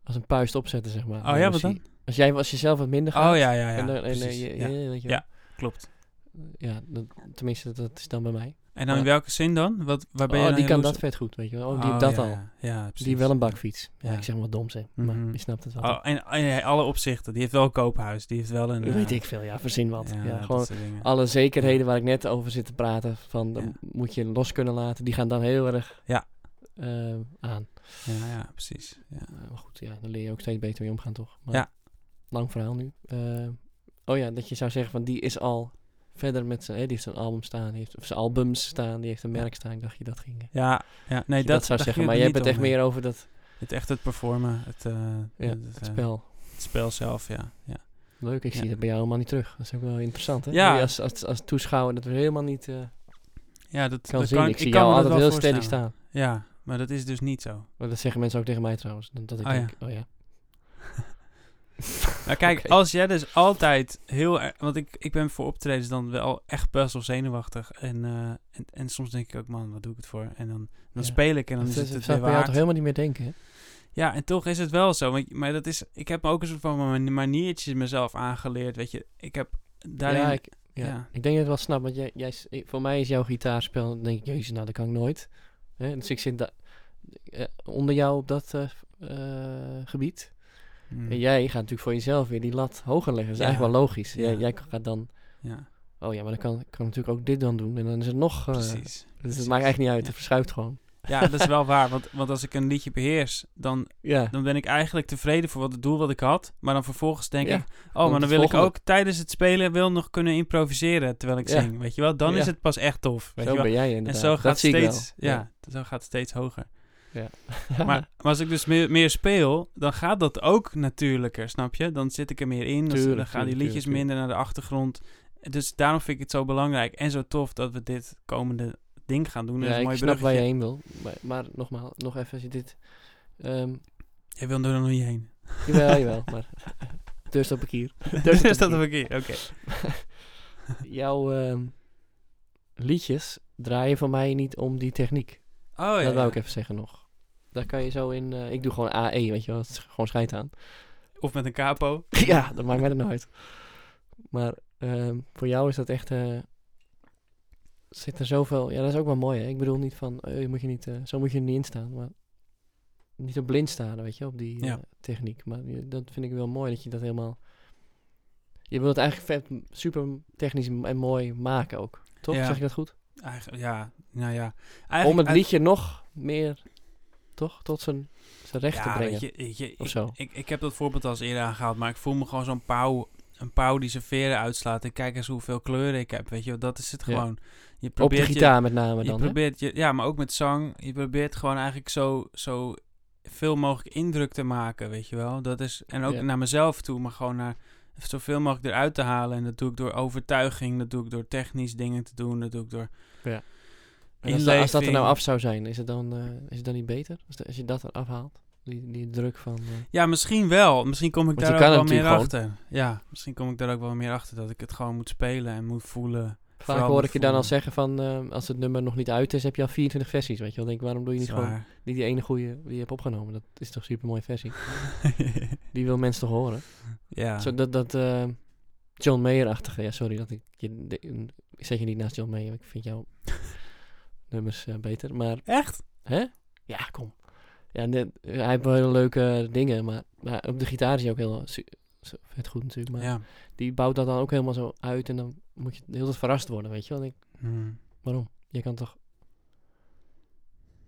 als een puist opzetten, zeg maar. Oh ja, wat dan? jaloezie. Als, jij, als je zelf wat minder gaat. Oh ja, ja, ja. en dan, en, eh, precies. je- ja, je- weet je wel. Ja. klopt. Ja, dat, tenminste, dat is dan bij mij. En dan in Ja. welke zin dan? Wat, waar ben je oh, dan die kan jaloers dat op? vet goed, weet je wel. Oh, die Oh, heeft dat ja, al. Ja, ja, precies. Die heeft wel een bakfiets. Ja, Ja. ik zeg maar wat doms, hè. Mhm. Maar je snapt het wel. Oh, en, en alle opzichten. Die heeft wel een koophuis. Die heeft wel een... Weet eh, ik veel, ja, verzin wat. Ja, dat gewoon soort dingen. alle zekerheden waar ik net over zit te praten, van dat Ja. moet je los kunnen laten, die gaan dan heel erg Ja. eh, aan. Ja, ja, precies. Ja. Eh, maar goed, ja, dan leer je ook steeds beter mee omgaan, toch? Maar, Ja. Lang verhaal nu. Eh, oh ja, dat je zou zeggen van die is al verder met zijn, hè, die heeft zijn album staan, die heeft, of zijn albums staan, die heeft een merk staan. Ik dacht je dat ging. eh, Ja, ja, nee, je dat, dat, daar zou zeggen, ging maar jij niet bent echt om, meer over dat Het echt het performen, het, eh, Ja, het, eh, spel. het spel zelf, ja. ja. Leuk, ik Ja. zie dat bij jou helemaal niet terug. Dat is ook wel interessant, hè? Ja. Hoe je Als, als, als toeschouwer dat we helemaal niet eh, Ja, dat kan dat zien. kan, ik zie kan jou me dat altijd heel wel steady voorstellen. staan. Ja, maar dat is dus niet zo. Maar dat zeggen mensen ook tegen mij trouwens. Dat dat ik Oh ja. denk, oh ja. Maar Nou, kijk, Oké. als jij dus altijd heel erg... Want ik, ik ben voor optredens dan wel echt best wel zenuwachtig. En, eh, en, en soms denk ik ook, man, wat doe ik het voor? En dan, dan Ja. speel ik en dan dat is is- het zou het ik bij weer jou toch waard. helemaal niet meer denken, hè? Ja, en toch is het wel zo. Want, maar dat is, ik heb ook een soort van mijn maniertjes mezelf aangeleerd, weet je. Ik heb daarin... ja, ik, ja. ja. ik denk dat ik het wel snap. Want jij, jij, is- ik- voor mij is jouw gitaarspel... Dan denk ik, jezus, nou, dat kan ik nooit. Hè? Dus ik zit da- eh, onder jou op dat eh, eh, gebied. Mm, En jij gaat natuurlijk voor jezelf weer die lat hoger leggen. Dat Ja. is eigenlijk wel logisch. Ja. Jij, jij gaat dan... ja. Oh ja, maar dan kan, kan ik natuurlijk ook dit dan doen. En dan is het nog... eh, Precies. dus precies. het maakt eigenlijk niet uit. Ja. Het verschuift gewoon. Ja, dat is wel waar. Want, want als ik een liedje beheers, dan, Ja. dan ben ik eigenlijk tevreden voor wat het doel wat ik had. Maar dan vervolgens denk Ja. ik, oh, maar het dan wil ik volgende. ook tijdens het spelen wil nog kunnen improviseren terwijl ik Ja. zing. Weet je wel, dan is Ja. het pas echt tof. Weet Zo je wel? ben jij En inderdaad. zo gaat dat het zie ik steeds, wel. ja, zo gaat het steeds hoger. Ja. Maar, maar als ik dus meer, meer speel, dan gaat dat ook natuurlijker, snap je? Dan zit ik er meer in, dan- Tuurlijk, dan gaan die tuurlijk, liedjes tuurlijk, minder naar de achtergrond. Dus daarom vind ik het zo belangrijk en zo tof dat we dit komende ding gaan doen. Dat is Ja, een ik mooi snap waar bruggetje. je heen wil. Maar, maar nogmaals, nog even dit. ehm Jij wil er nog niet heen. jawel, jawel. Maar deur staat parkier. Dus staat is dat op- een keer. Oké. Jouw ehm, liedjes draaien voor mij niet om die techniek. Oh ja. dat wou ja. ik even zeggen nog. Daar kan je zo in... eh, ik doe gewoon AE, weet je wel. Het is gewoon schijt aan. Of met een capo. ja, dat maakt mij dan uit. Maar ehm, voor jou is dat echt... eh, zit er zoveel... Ja, dat is ook wel mooi, hè. Ik bedoel niet van... eh, je moet je niet, eh, zo moet je er niet in staan, maar... Niet zo blind staan, weet je, op die eh, Ja. techniek. Maar je- dat vind ik wel mooi, dat je dat helemaal... Je wilt het eigenlijk vet, super technisch m- en mooi maken ook. Toch? Ja. Zeg ik dat goed? Eigenlijk, ja, nou ja. Om Eigenlijk- het liedje nog meer, toch, tot zijn, zijn recht te ja, brengen. Weet je, weet je, of ik, zo. Ik, ik heb dat voorbeeld al eens eerder aangehaald, maar ik voel me gewoon zo'n pauw, een pauw die zijn veren uitslaat. En kijk eens hoeveel kleuren ik heb, weet je. wel. Dat is het Ja. gewoon. Je Op de probeert je- gitaar met name je dan, hè? probeert je, ja, maar ook met zang. Je probeert gewoon eigenlijk zo, zo veel mogelijk indruk te maken, weet je wel. Dat is, en ook Ja. naar mezelf toe, maar gewoon naar zoveel mogelijk eruit te halen. En dat doe ik door overtuiging, dat doe ik door technisch dingen te doen, dat doe ik door... En als, da- als dat er nou inleving. af zou zijn, is het dan, eh, is het dan niet beter? Als, de- als je dat eraf haalt, die, die druk van... eh, Ja, misschien wel. Misschien kom ik Want je daar ook kan wel het meer natuurlijk achter. Ja, misschien kom ik daar ook wel meer achter dat ik het gewoon moet spelen en moet voelen. vaak Vooral hoor moet ik je dan al voelen. zeggen van, eh, als het nummer nog niet uit is, heb je al 24 versies, weet je wel. Dan Denk, ik, waarom doe je niet gewoon Zwaar. niet die ene goede die je hebt opgenomen? Dat is toch een supermooie versie? Die wil mensen toch horen? ja. Zo, dat, dat eh, John Mayer-achtige, ja sorry, dat ik, je, de- ik zet je niet naast John Mayer, ik vind jouw nummers eh, beter, maar... Echt? Hè? Ja, kom. Ja, net- hij heeft wel hele leuke dingen, maar, maar op de gitaar is hij ook heel su- su- vet goed natuurlijk. Maar Ja. die bouwt dat dan ook helemaal zo uit en dan moet je heel tijd verrast worden, weet je wel. Dan denk ik, Hm. waarom? Je kan toch...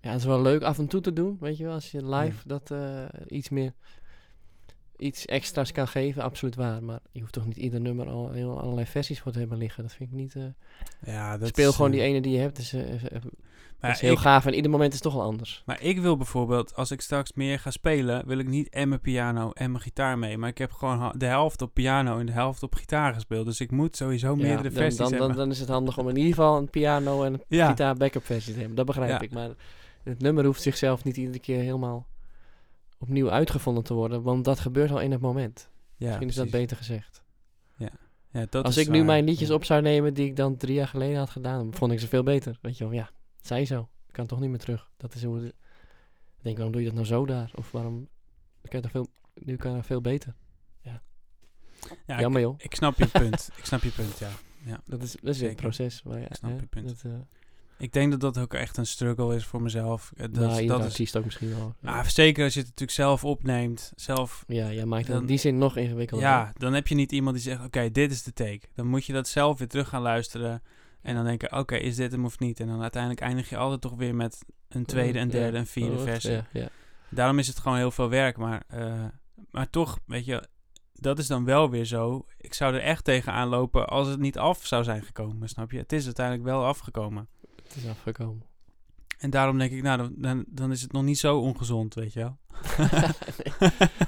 Ja, het is wel leuk af en toe te doen, weet je wel. Als je live dat eh, iets meer... Iets extra's kan geven, absoluut waar. Maar je hoeft toch niet ieder nummer al heel allerlei versies voor te hebben liggen. Dat vind ik niet. eh, Ja, dat speel is, gewoon eh, die ene die je hebt. Dat is, eh, eh, eh, dat maar is heel ik- gaaf. En ieder moment is toch al anders. Maar ik wil bijvoorbeeld, als ik straks meer ga spelen, wil ik niet en mijn piano en mijn gitaar mee. Maar ik heb gewoon ha- de helft op piano en de helft op gitaar gespeeld. Dus ik moet sowieso Ja, meerdere dan, versies dan, dan, hebben. dan is het handig om in ieder geval een piano en een ja, gitaar backup versie te hebben. Dat begrijp Ja. ik. Maar het nummer hoeft zichzelf niet iedere keer helemaal opnieuw uitgevonden te worden. Want dat gebeurt al in het moment. ja, Misschien is dat precies. beter gezegd. Ja, dat Als is ik nu waar. mijn liedjes Ja. op zou nemen die ik dan drie jaar geleden had gedaan, vond ik ze veel beter. Weet je wel, ja, zij zo. Ik kan toch niet meer terug. Dat is hoe het... Ik denk, waarom doe je dat nou zo daar? Of waarom... Ik kan toch veel... Nu kan dat veel beter. Ja, ik- Jammer joh. ik, snap je punt. ik snap je punt, ja. Dat is, dat is weer Zeker. het proces. Maar ja, Ik snap hè, je punt. Dat, eh, Ik denk dat dat ook echt een struggle is voor mezelf. Eh, Dat, nou, ieder dat is, Ah, artiest ook misschien wel. maar zeker als je het natuurlijk zelf opneemt, zelf ja, jij maakt het dan- in die zin nog ingewikkelder. Ja, dan heb je niet iemand die zegt: Oké, dit is de take. Dan moet je dat zelf weer terug gaan luisteren. En dan denken: Oké, is dit hem of niet? En dan uiteindelijk eindig je altijd toch weer met een tweede, een Eh, Ja, derde, een vierde oh, versie. Ja, ja. Daarom is het gewoon heel veel werk. Maar, eh, maar toch, weet je, dat is dan wel weer zo. Ik zou er echt tegenaan lopen als het niet af zou zijn gekomen. Snap je? Het is uiteindelijk wel afgekomen. Het is afgekomen. En daarom denk ik: Nou, dan, dan, dan is het nog niet zo ongezond, weet je wel.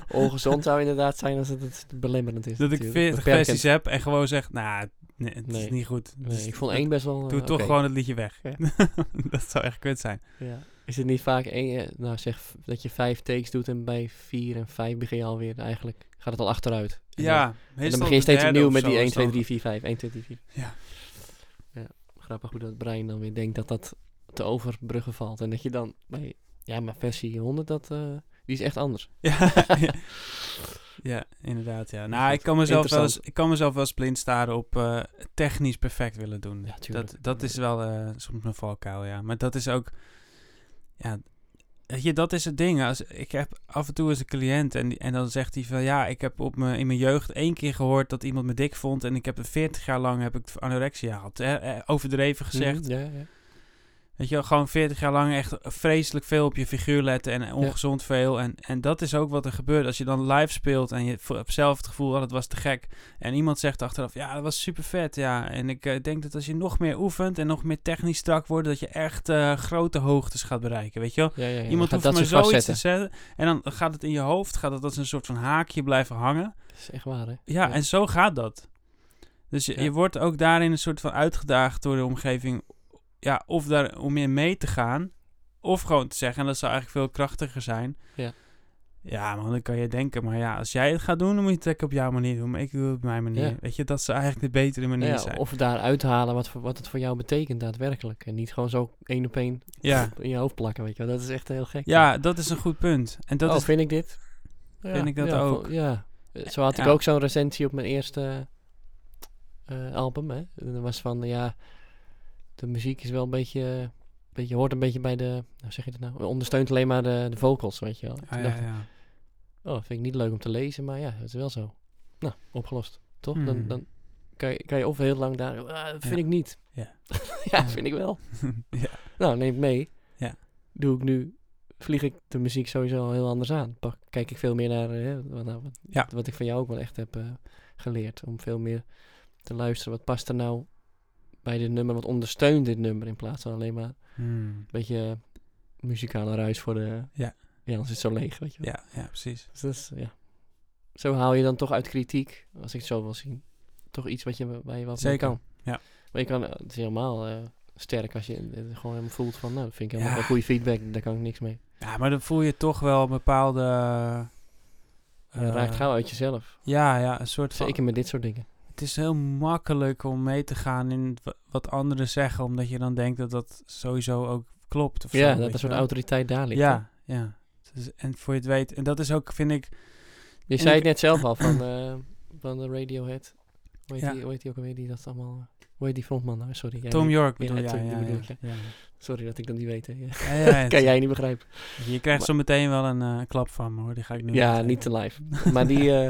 Ongezond zou inderdaad zijn als het, het belemmerend is. Dat ik natuurlijk. 40 Beperkend. versies heb en gewoon zeg: Nou, nee, het is Nee. niet goed. Het Nee, is- ik vond het- één best wel... eh, Doe toch oké. gewoon het liedje weg. Ja. dat zou echt kut zijn. Ja. Is het niet vaak één, eh, nou zeg v- dat je vijf takes doet en bij vier en vijf begin je alweer eigenlijk, gaat het al achteruit. En dan- ja, en dan meestal begin je de steeds derde opnieuw of met zo die is 1, 2, dan- 3, 4, 5, 1, 2, 3, 4. Ja. Ja, grappig hoe dat brein dan weer denkt dat dat te overbruggen valt. En dat je dan bij, ja maar versie 100, dat, eh, die is echt anders. Ja, ja, inderdaad. Ja. Nou, ik kan, mezelf wel eens, Interessant. ik kan mezelf wel eens blind staren op eh, technisch perfect willen doen. Ja, tuurlijk. dat, dat is wel eh, soms mijn valkuil, ja. Maar dat is ook... Ja, weet je, dat is het ding. Als, ik heb af en toe eens een cliënt en, die- en dan zegt hij van... Ja, ik heb op mijn in mijn jeugd één keer gehoord dat iemand me dik vond... Mm. en ik heb er 40 jaar lang heb ik anorexia gehad. Eh, eh, overdreven gezegd. Mhm, Ja, ja. Weet je wel, gewoon 40 jaar lang echt vreselijk veel op je figuur letten en ongezond veel. En, en dat is ook wat er gebeurt als je dan live speelt en je vo- hebt zelf het gevoel oh, dat het was te gek. En iemand zegt achteraf, ja, dat was super vet, ja. En ik eh, denk dat als je nog meer oefent en nog meer technisch strak wordt, dat je echt eh, grote hoogtes gaat bereiken, weet je wel. Ja, ja, ja. Dan Iemand gaat hoeft dat maar zich zoiets te vastzetten. zetten. En dan gaat het in je hoofd, gaat het als een soort van haakje blijven hangen. Dat is echt waar, hè? Ja, en zo gaat dat. Dus je, Ja. je wordt ook daarin een soort van uitgedaagd door de omgeving. Ja, of daar om in mee te gaan. Of gewoon te zeggen, en dat zou eigenlijk veel krachtiger zijn. Ja. Ja, man, dan kan je denken. Maar ja, als jij het gaat doen, dan moet je het lekker op jouw manier doen. Maar ik doe het op mijn manier. Ja. Weet je, dat zou eigenlijk de betere manier Ja, zijn. of daar uithalen wat, voor- wat het voor jou betekent daadwerkelijk. En niet gewoon zo één op één Ja. in je hoofd plakken, weet je wel. Dat is echt heel gek. ja, dat is een goed punt. En dat oh, is... vind ik dit? Ja, Vind ik dat ja, ook. vol- Ja. Eh, Zo had ik Ja. ook zo'n recensie op mijn eerste eh, album, hè. En Dat was van, ja, de muziek is wel een beetje... beetje hoort een beetje bij de... Hoe zeg je dat nou? Ondersteunt alleen maar de, de vocals, weet je wel. Ah, Ja, Toen ja, dacht ik, ja. Oh, vind ik niet leuk om te lezen, maar ja, het is wel zo. Nou, opgelost. Toch? Hmm. Dan, dan kan, je, kan je of heel lang daar... "Ah, vind Ja. ik niet. Ja. ja, vind ik wel. Ja. Nou, neem het mee. Ja. Doe ik nu... Vlieg ik de muziek sowieso al heel anders aan. Pak, kijk ik veel meer naar eh, wat, nou, wat, Ja. wat ik van jou ook wel echt heb eh, geleerd. Om veel meer te luisteren. Wat past er nou bij dit nummer? Wat ondersteunt dit nummer? In plaats van alleen maar een Hmm. beetje eh, muzikale ruis voor de... Ja. Ja, anders is het zo leeg, weet je wel. ja, ja, precies. Dus dat is, ja. Zo haal je dan toch uit kritiek, als ik het zo wil zien, toch iets wat je, waar je wat mee Zeker, kan. ja. Maar je kan, het is helemaal eh, sterk als je het eh, gewoon helemaal voelt van, nou, dat vind ik helemaal Ja. wel goede feedback, daar kan ik niks mee. Ja, maar dan voel je toch wel een bepaalde... Het eh, raakt gauw uit jezelf. Ja, ja, een soort van... Zeker met dit soort dingen. Het is heel makkelijk om mee te gaan in wa- wat anderen zeggen, omdat je dan denkt dat dat sowieso ook klopt. Of zo, weet ja, dat je een soort wel. autoriteit daar ligt. hè? Ja, ja. Dus, en voor je het weet, en dat is ook, vind ik, Je zei het net zelf al van, eh, van de Radiohead. Hoe heet, Ja. die, hoe heet die ook alweer die dat allemaal... Hoe heet die frontman nou? Sorry. jij Tom niet. York bedoel ja, ja, Tom- ja, die ja, bedoel ik, ja, ja. Sorry dat ik dat niet weet. hè. Ja, ja, het- kan jij niet begrijpen. Je krijgt zo meteen wel een eh, klap van me hoor, die ga ik nu Ja, meteen- niet te live. Maar die eh,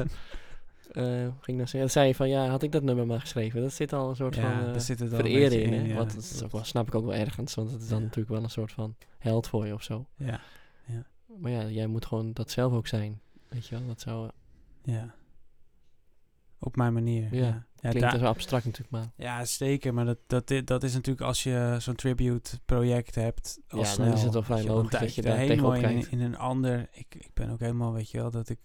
eh, ging dan zeggen, zei je van ja, had ik dat nummer maar geschreven. Dat zit al een soort ja, van eh daar zit het wel een verering beetje in. hè? ja. Want dat is ook wel, snap ik ook wel ergens, want het is dan Ja. natuurlijk wel een soort van held voor je of zo. Ja, Maar ja, jij moet gewoon dat zelf ook zijn. Weet je wel, dat zou, eh, ja. Op mijn manier. Ja, Ja, ja. klinkt daar- zo abstract natuurlijk, maar Ja, zeker. Maar dat, dat, i- dat is natuurlijk als je zo'n tribute project hebt. Al Ja, dan snel, is het wel vrij weet je, dan logisch dat duik je er daar helemaal tegenop in, kijkt. in een ander. Ik, ik ben ook helemaal, weet je wel, dat ik.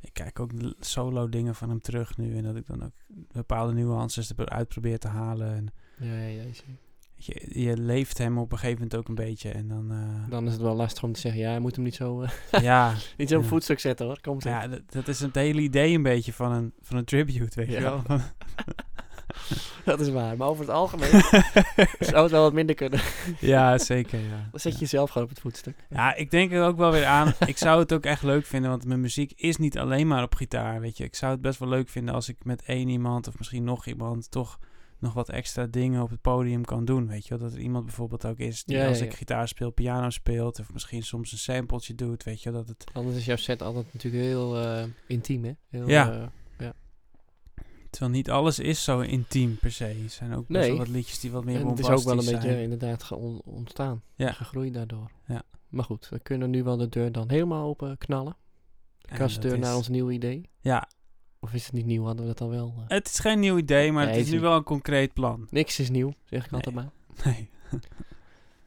Ik kijk ook l- solo dingen van hem terug nu. En dat ik dan ook bepaalde nuances eruit probeer te halen. En ja, ja, ja, is- weet je, je leeft hem op een gegeven moment ook een beetje. En dan. eh, dan is het wel lastig om te zeggen, ja, je moet hem niet zo, eh, ja, niet zo op Ja. voetstuk zetten hoor, komt ja dat, dat is het hele idee een beetje van een, van een tribute, weet Ja. je wel. Dat is waar, maar over het algemeen zou het wel wat minder kunnen. ja, zeker. Ja. Dan zet je jezelf gewoon op het voetstuk. Ja, ik denk er ook wel weer aan. ik zou het ook echt leuk vinden, want mijn muziek is niet alleen maar op gitaar, weet je. Ik zou het best wel leuk vinden als ik met één iemand of misschien nog iemand toch nog wat extra dingen op het podium kan doen, weet je. wel. Dat er iemand bijvoorbeeld ook is die Ja, ja, als ja. ik gitaar speel, piano speelt of misschien soms een sampletje doet, weet je. wel, Dat het, Anders is jouw set altijd natuurlijk heel eh, intiem, hè? Heel, Ja. eh, terwijl niet alles is zo intiem per se. Er zijn ook best Nee. wel wat liedjes die wat meer En het bombastisch is zijn. ook wel een beetje inderdaad ge- on- ontstaan. Ja. Gegroeid daardoor. Ja. Maar goed, we kunnen nu wel de deur dan helemaal open knallen. De En kastdeur dat is- naar ons nieuwe idee. Ja, Of is het niet nieuw? Hadden we dat al wel? eh? het is geen nieuw idee, maar Nee, het is is nu niet. wel een concreet plan. Niks is nieuw, zeg ik Nee. altijd maar. Nee.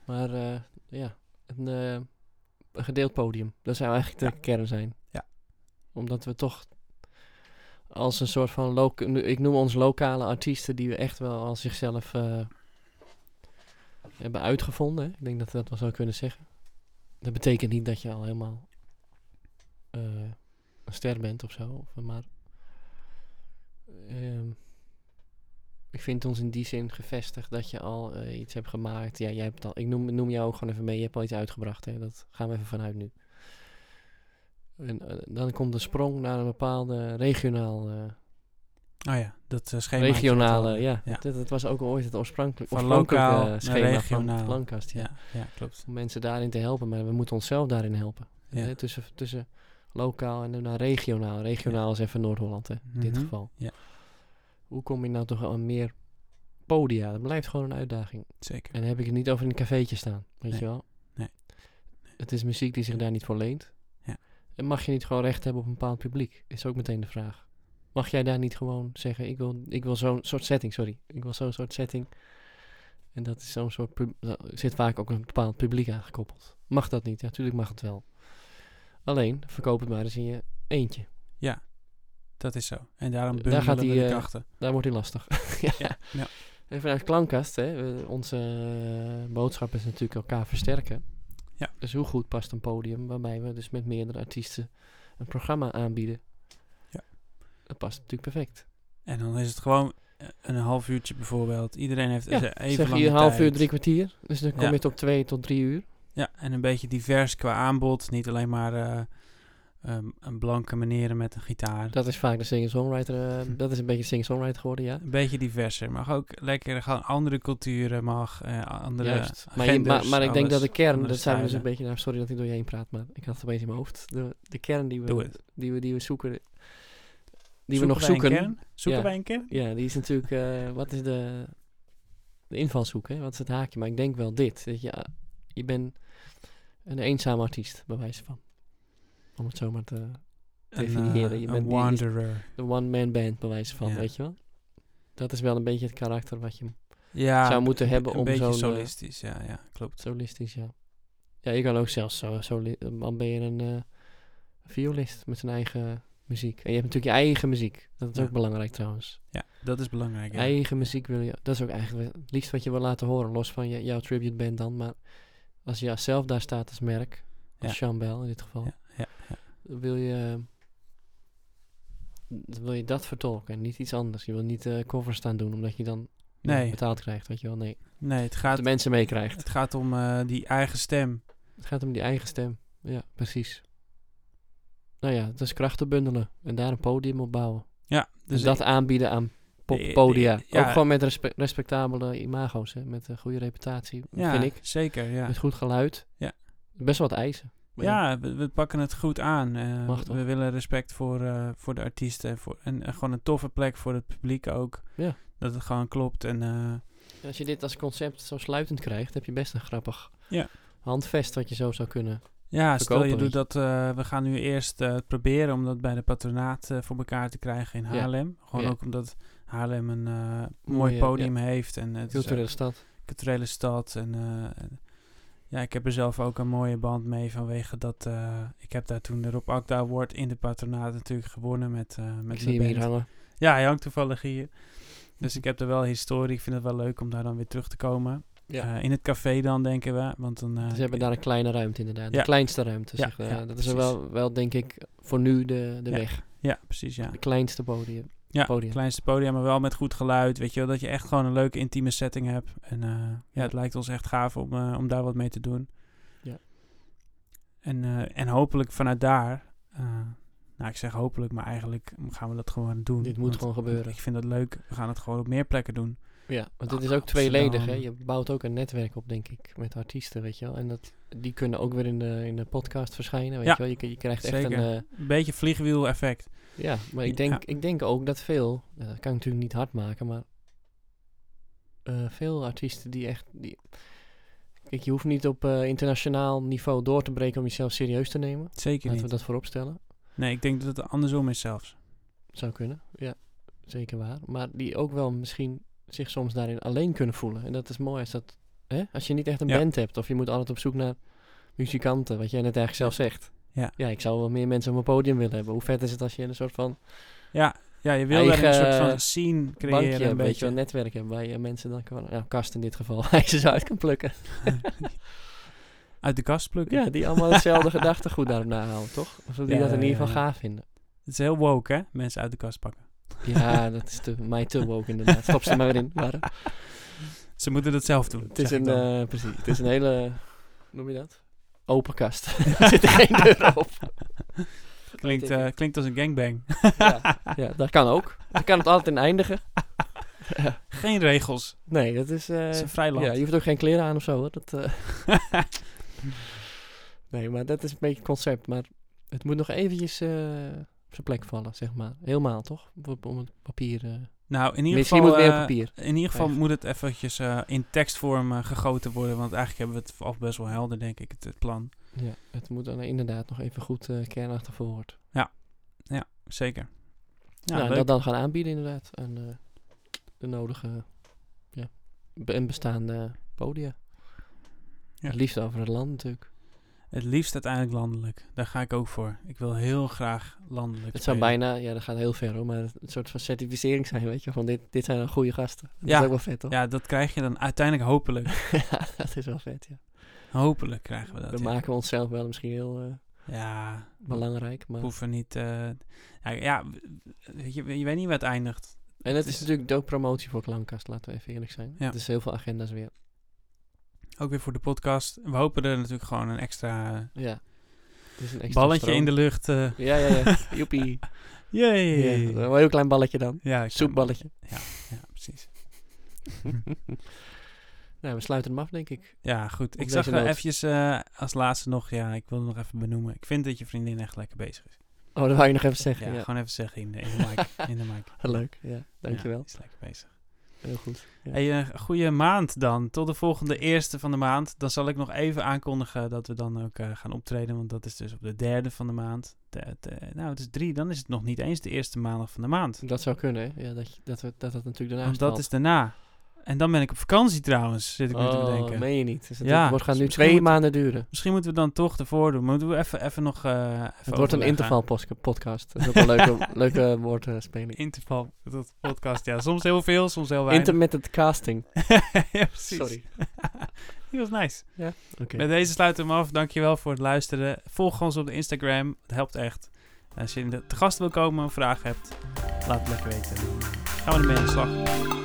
Maar eh, ja, een, eh, een gedeeld podium. Dat zou eigenlijk de kern zijn. Ja. Omdat we toch als een soort van... Lo- ik noem ons lokale artiesten die we echt wel als zichzelf eh, hebben uitgevonden. hè. Ik denk dat we dat wel zou kunnen zeggen. Dat betekent niet dat je al helemaal eh, een ster bent of zo. of- Maar ehm, ik vind ons in die zin gevestigd dat je al eh, iets hebt gemaakt. Ja, jij hebt het al. Ik noem, noem jou ook gewoon even mee. Je hebt al iets uitgebracht. Hè? Dat gaan we even vanuit nu. En eh, dan komt de sprong naar een bepaalde regionaal, eh, Oh ja, dat eh, schema. had je net al. regionale. Ja, Ja. Dat, dat was ook ooit het oorspronkelijk, Van oorspronkelijke lokaal naar schema regionaal. van Lancast. Ja. Ja, ja, klopt. Om mensen daarin te helpen, maar we moeten onszelf daarin helpen. Ja. Hè? Tussen, tussen lokaal en dan naar regionaal. Regionaal is even Noord-Holland hè, in dit Mhm. geval. Ja. Hoe kom je nou toch aan meer podia, dat blijft gewoon een uitdaging. Zeker. En dan heb ik het niet over in een cafeetje staan, weet Nee. je wel. Nee. Het is muziek die zich daar niet voor leent. Ja. En mag je niet gewoon recht hebben op een bepaald publiek? Is ook meteen de vraag. Mag jij daar niet gewoon zeggen, ik wil, ik wil zo'n soort setting, sorry. Ik wil zo'n soort setting. En dat is zo'n soort, pub- daar zit vaak ook een bepaald publiek aangekoppeld. Mag dat niet? Ja, natuurlijk mag het wel. Alleen, verkoop het maar eens in je eentje. Ja, dat is zo. En daarom Eh, bundelen daar gaat we die, de eh, krachten. Daar wordt hij lastig. ja. ja. En vanuit Klankkast, hè, we- onze eh, boodschap is natuurlijk elkaar versterken. Ja. Dus hoe goed past een podium waarbij we dus met meerdere artiesten een programma aanbieden? Ja. Dat past natuurlijk perfect. En dan is het gewoon eh, een half uurtje bijvoorbeeld. Iedereen heeft Ja, eh, even zeg lang je een half uur, tijd. drie kwartier. Dus dan kom Ja. je tot twee tot drie uur. Ja, en een beetje divers qua aanbod. Niet alleen maar eh, ehm, een blanke meneer met een gitaar. Dat is vaak de singer-songwriter. eh, Hm. Dat is een beetje singer-songwriter geworden, ja. Een beetje diverser. Mag ook lekker gaan. Andere culturen mag. eh, andere Juist. Maar, je- genders, maar, maar ik denk dat de alles, kern, andere dat zijn we dus een stijlen. beetje, nou, sorry dat ik door je heen praat, maar ik had het opeens in mijn hoofd. De, de kern die Doe we, het. die, we, die we zoeken, die we Zoeken nog wij een zoeken, kern? Zoeken Ja. wij een kern? Ja, die is natuurlijk. eh, wat is de, de invalshoek? Hè? Wat is het haakje? Maar ik denk wel dit. Dat je, ah, je bent een eenzaam artiest, bij wijze van. Om het zo maar te. Definiëren. Je Een, eh, bent een die- wanderer. De one-man band, bij wijze van, Ja. weet je wel? Dat is wel een beetje het karakter wat je Ja, zou moeten een- hebben een om beetje zo'n, eh, solistisch. Ja, ja, klopt. solistisch, ja. Ja, je kan ook zelfs zo. zo dan ben je een eh, violist met zijn eigen muziek. En je hebt natuurlijk je eigen muziek. Dat is Ja. ook belangrijk trouwens. Ja, dat is belangrijk. ja. eigen muziek wil je. Dat is ook eigenlijk het liefst wat je wil laten horen. Los van je, jouw tribute band dan. Maar als je zelf daar staat als merk. Als Sean Bell in dit geval. Ja, ja, ja. dan Wil je. dan Wil je dat vertolken en niet iets anders? Je wil niet eh covers staan doen omdat je dan Nee. betaald krijgt, weet je wel? Nee. Nee, het Dat de gaat, mensen meekrijgt. het gaat om eh, die eigen stem. Het gaat om die eigen stem. Ja, precies. Nou ja, het is krachten bundelen en daar een podium op bouwen. Ja, Dus dus dat aanbieden aan De- de- poppodia. ja. Ook gewoon met respe- respectabele imago's, hè? met een goede reputatie, ik- ja, vind ik. Dus- Zeker, ja. Met goed geluid. Ja. Best wel wat eisen. Maar Ja, we, we pakken het goed aan. eh, Mag toch? we willen respect voor, eh, voor de artiesten. en Voor, en, en gewoon een toffe plek voor het publiek ook. Ja. Dat het gewoon klopt. En eh, Als je dit als concept zo sluitend krijgt, heb je best een grappig Ja. handvest wat je zo zou kunnen. ja, stel Verkopen, je doet weet dat. eh, we gaan nu eerst eh, het proberen om dat bij de patronaat eh, voor elkaar te krijgen in Ja. Haarlem. Gewoon Ja. ook omdat Haarlem een eh, mooi Mooie, podium heeft. En het is Culturele stad. culturele stad. En eh, en- ja, ik heb er zelf ook een mooie band mee vanwege dat eh, ik heb daar toen de Rob Akda Award in de patronaat natuurlijk gewonnen met, eh met Ik zie mijn hem hier band. hangen. Ja, hij hangt toevallig hier. Dus ik heb er wel historie. Ik vind het wel leuk om daar dan weer terug te komen. Ja. Eh, in het café dan, denken we. Want dan, eh, Ze hebben daar een kleine ruimte inderdaad. Ja. De kleinste ruimte. Ja, Zeg. eh, ja, dat is precies. wel, wel, denk ik, voor nu de, de Ja. weg. Ja, precies, ja. De kleinste podium. Ja, podium. kleinste podium, maar wel met goed geluid. Weet je wel, dat je echt gewoon een leuke intieme setting hebt. En eh, ja, het lijkt ons echt gaaf om, eh, om daar wat mee te doen. Ja. En, eh, en hopelijk vanuit daar... eh, nou, ik zeg hopelijk, maar eigenlijk gaan we dat gewoon doen. Dit moet gewoon gebeuren. Ik vind dat leuk. We gaan het gewoon op meer plekken doen. Ja, want Ah, dit is ook tweeledig. Hè? Je Amsterdam. bouwt ook een netwerk op, denk ik, met artiesten, weet je wel. En dat, die kunnen ook weer in de, in de podcast verschijnen, weet Ja, je wel. Je, je krijgt echt zeker. een... eh, Een beetje vliegwiel effect. Ja, maar ik denk, ik denk ook dat veel, eh, dat kan ik natuurlijk niet hard maken, maar eh, veel artiesten die echt. Die, kijk, je hoeft niet op eh, internationaal niveau door te breken om jezelf serieus te nemen. Zeker Laten we niet. dat voorop stellen. Nee, ik denk dat het andersom is zelfs. Zou kunnen, ja, zeker waar. Maar die ook wel misschien zich soms daarin alleen kunnen voelen. En dat is mooi als dat. Hè? Als je niet echt een Ja. band hebt of je moet altijd op zoek naar muzikanten, wat jij net eigenlijk zelf zegt. Ja. ja, ik zou wel meer mensen op mijn podium willen hebben. Hoe vet is het als je een soort van Ja, ja je wil daar een Eigen soort van scene creëren. bankje een hebben, weet je beetje. wel, een netwerk hebben waar je mensen dan kan, nou, kast in dit geval, ijzers uit kan plukken. Uit de kast plukken. Ja, die allemaal hetzelfde gedachtegoed daarop nahouden, toch? Of die Ja, dat in ja, ieder geval ja. gaaf vinden. Het is heel woke, hè? Mensen uit de kast pakken. Ja, dat is te, mij te woke inderdaad. Stop ze maar weer in. Maar, eh, Ze moeten dat zelf doen. het, is zeg ik een, dan. eh, precies, het is een hele, hoe noem je dat? Open kast. er zit geen deur op. klinkt, eh, klinkt als een gangbang. ja, ja, dat kan ook. Dan kan het altijd in eindigen. Geen regels. Nee, dat is... eh, Het is een vrij land. ja, je hoeft ook geen kleren aan of zo, hoor. Dat, eh, Nee, maar dat is een beetje het concept. Maar het moet nog eventjes eh, op zijn plek vallen, zeg maar. Helemaal, toch? Om- Om het papier eh, Nou, in ieder Misschien geval... moet meer eh, papier. In ieder geval Echt. moet het eventjes eh, in tekstvorm eh, gegoten worden. Want eigenlijk hebben we het al best wel helder, denk ik, het, het plan. Ja, het moet dan inderdaad nog even goed eh, kernachtig verwoord. Zeker. Ja, Nou, en leuk. dat dan gaan aanbieden inderdaad. aan eh, de nodige ja, be- en bestaande podia. Ja. Het liefst over het land natuurlijk. Het liefst uiteindelijk landelijk. Daar ga ik ook voor. Ik wil heel graag landelijk Het zou spelen. bijna, ja dat gaat heel ver hoor, maar een soort van certificering zijn, weet je. Van dit, dit zijn dan goede gasten. Dat Ja. is ook wel vet toch? Ja, dat krijg je dan uiteindelijk hopelijk. Ja, dat is wel vet, ja. hopelijk krijgen we dat. Dan ja. maken we onszelf wel misschien heel eh, Ja, belangrijk. Maar... we hoeven niet... eh, ja, ja, weet je, je weet niet waar het eindigt. En het is is- natuurlijk ook promotie voor Klankkast, laten we even eerlijk zijn. Ja. Het is heel veel agenda's weer. Ook weer voor de podcast. We hopen er natuurlijk gewoon een extra, eh, Ja. Het is een extra balletje stroom. in de lucht. eh Ja, ja, ja. Joepie. yay! Ja, Ja, een heel klein balletje dan. ik- Soepballetje. Ja, precies. Nou, we sluiten hem af, denk ik. Ja, goed. Op Ik deze zag er noot. eventjes eh, als laatste nog... Ja, ik wil het nog even benoemen. Ik vind dat je vriendin echt lekker bezig is. Oh, dat wou je nog even zeggen. Ja, Ja, gewoon even zeggen in de, in de mic. In de mic. Leuk. Ja, dankjewel. Ja, is lekker bezig. Heel goed. Ja. Hey, eh, goede maand dan. Tot de volgende eerste van de maand. Dan zal ik nog even aankondigen dat we dan ook eh, gaan optreden. Want dat is dus op de derde van de maand. De- de- nou, het is drie. Dan is het nog niet eens de eerste maandag van de maand. Dat zou kunnen, hè? Ja, dat, je- dat, we- dat dat natuurlijk daarna Want dat is daarna. En dan ben ik op vakantie trouwens, zit ik nu te bedenken. Oh, meen je niet. Dus het Ja, wordt, gaat dus nu misschien twee moet- maanden duren. Misschien moeten we dan toch ervoor doen. Moeten we even, even nog... eh, even Het wordt een overleggen. interval-podcast. Dat is ook wel een leuke, leuke woordspeling. Interval, dat podcast. Ja, soms heel veel, soms heel weinig. Intermittent casting. ja, precies. Sorry. Die was nice. Oké. Met deze sluiten we hem af. Dankjewel voor het luisteren. Volg ons op de Instagram. Het helpt echt. En als je te gast wil komen of vragen hebt, laat het lekker weten. Gaan we ermee aan de slag.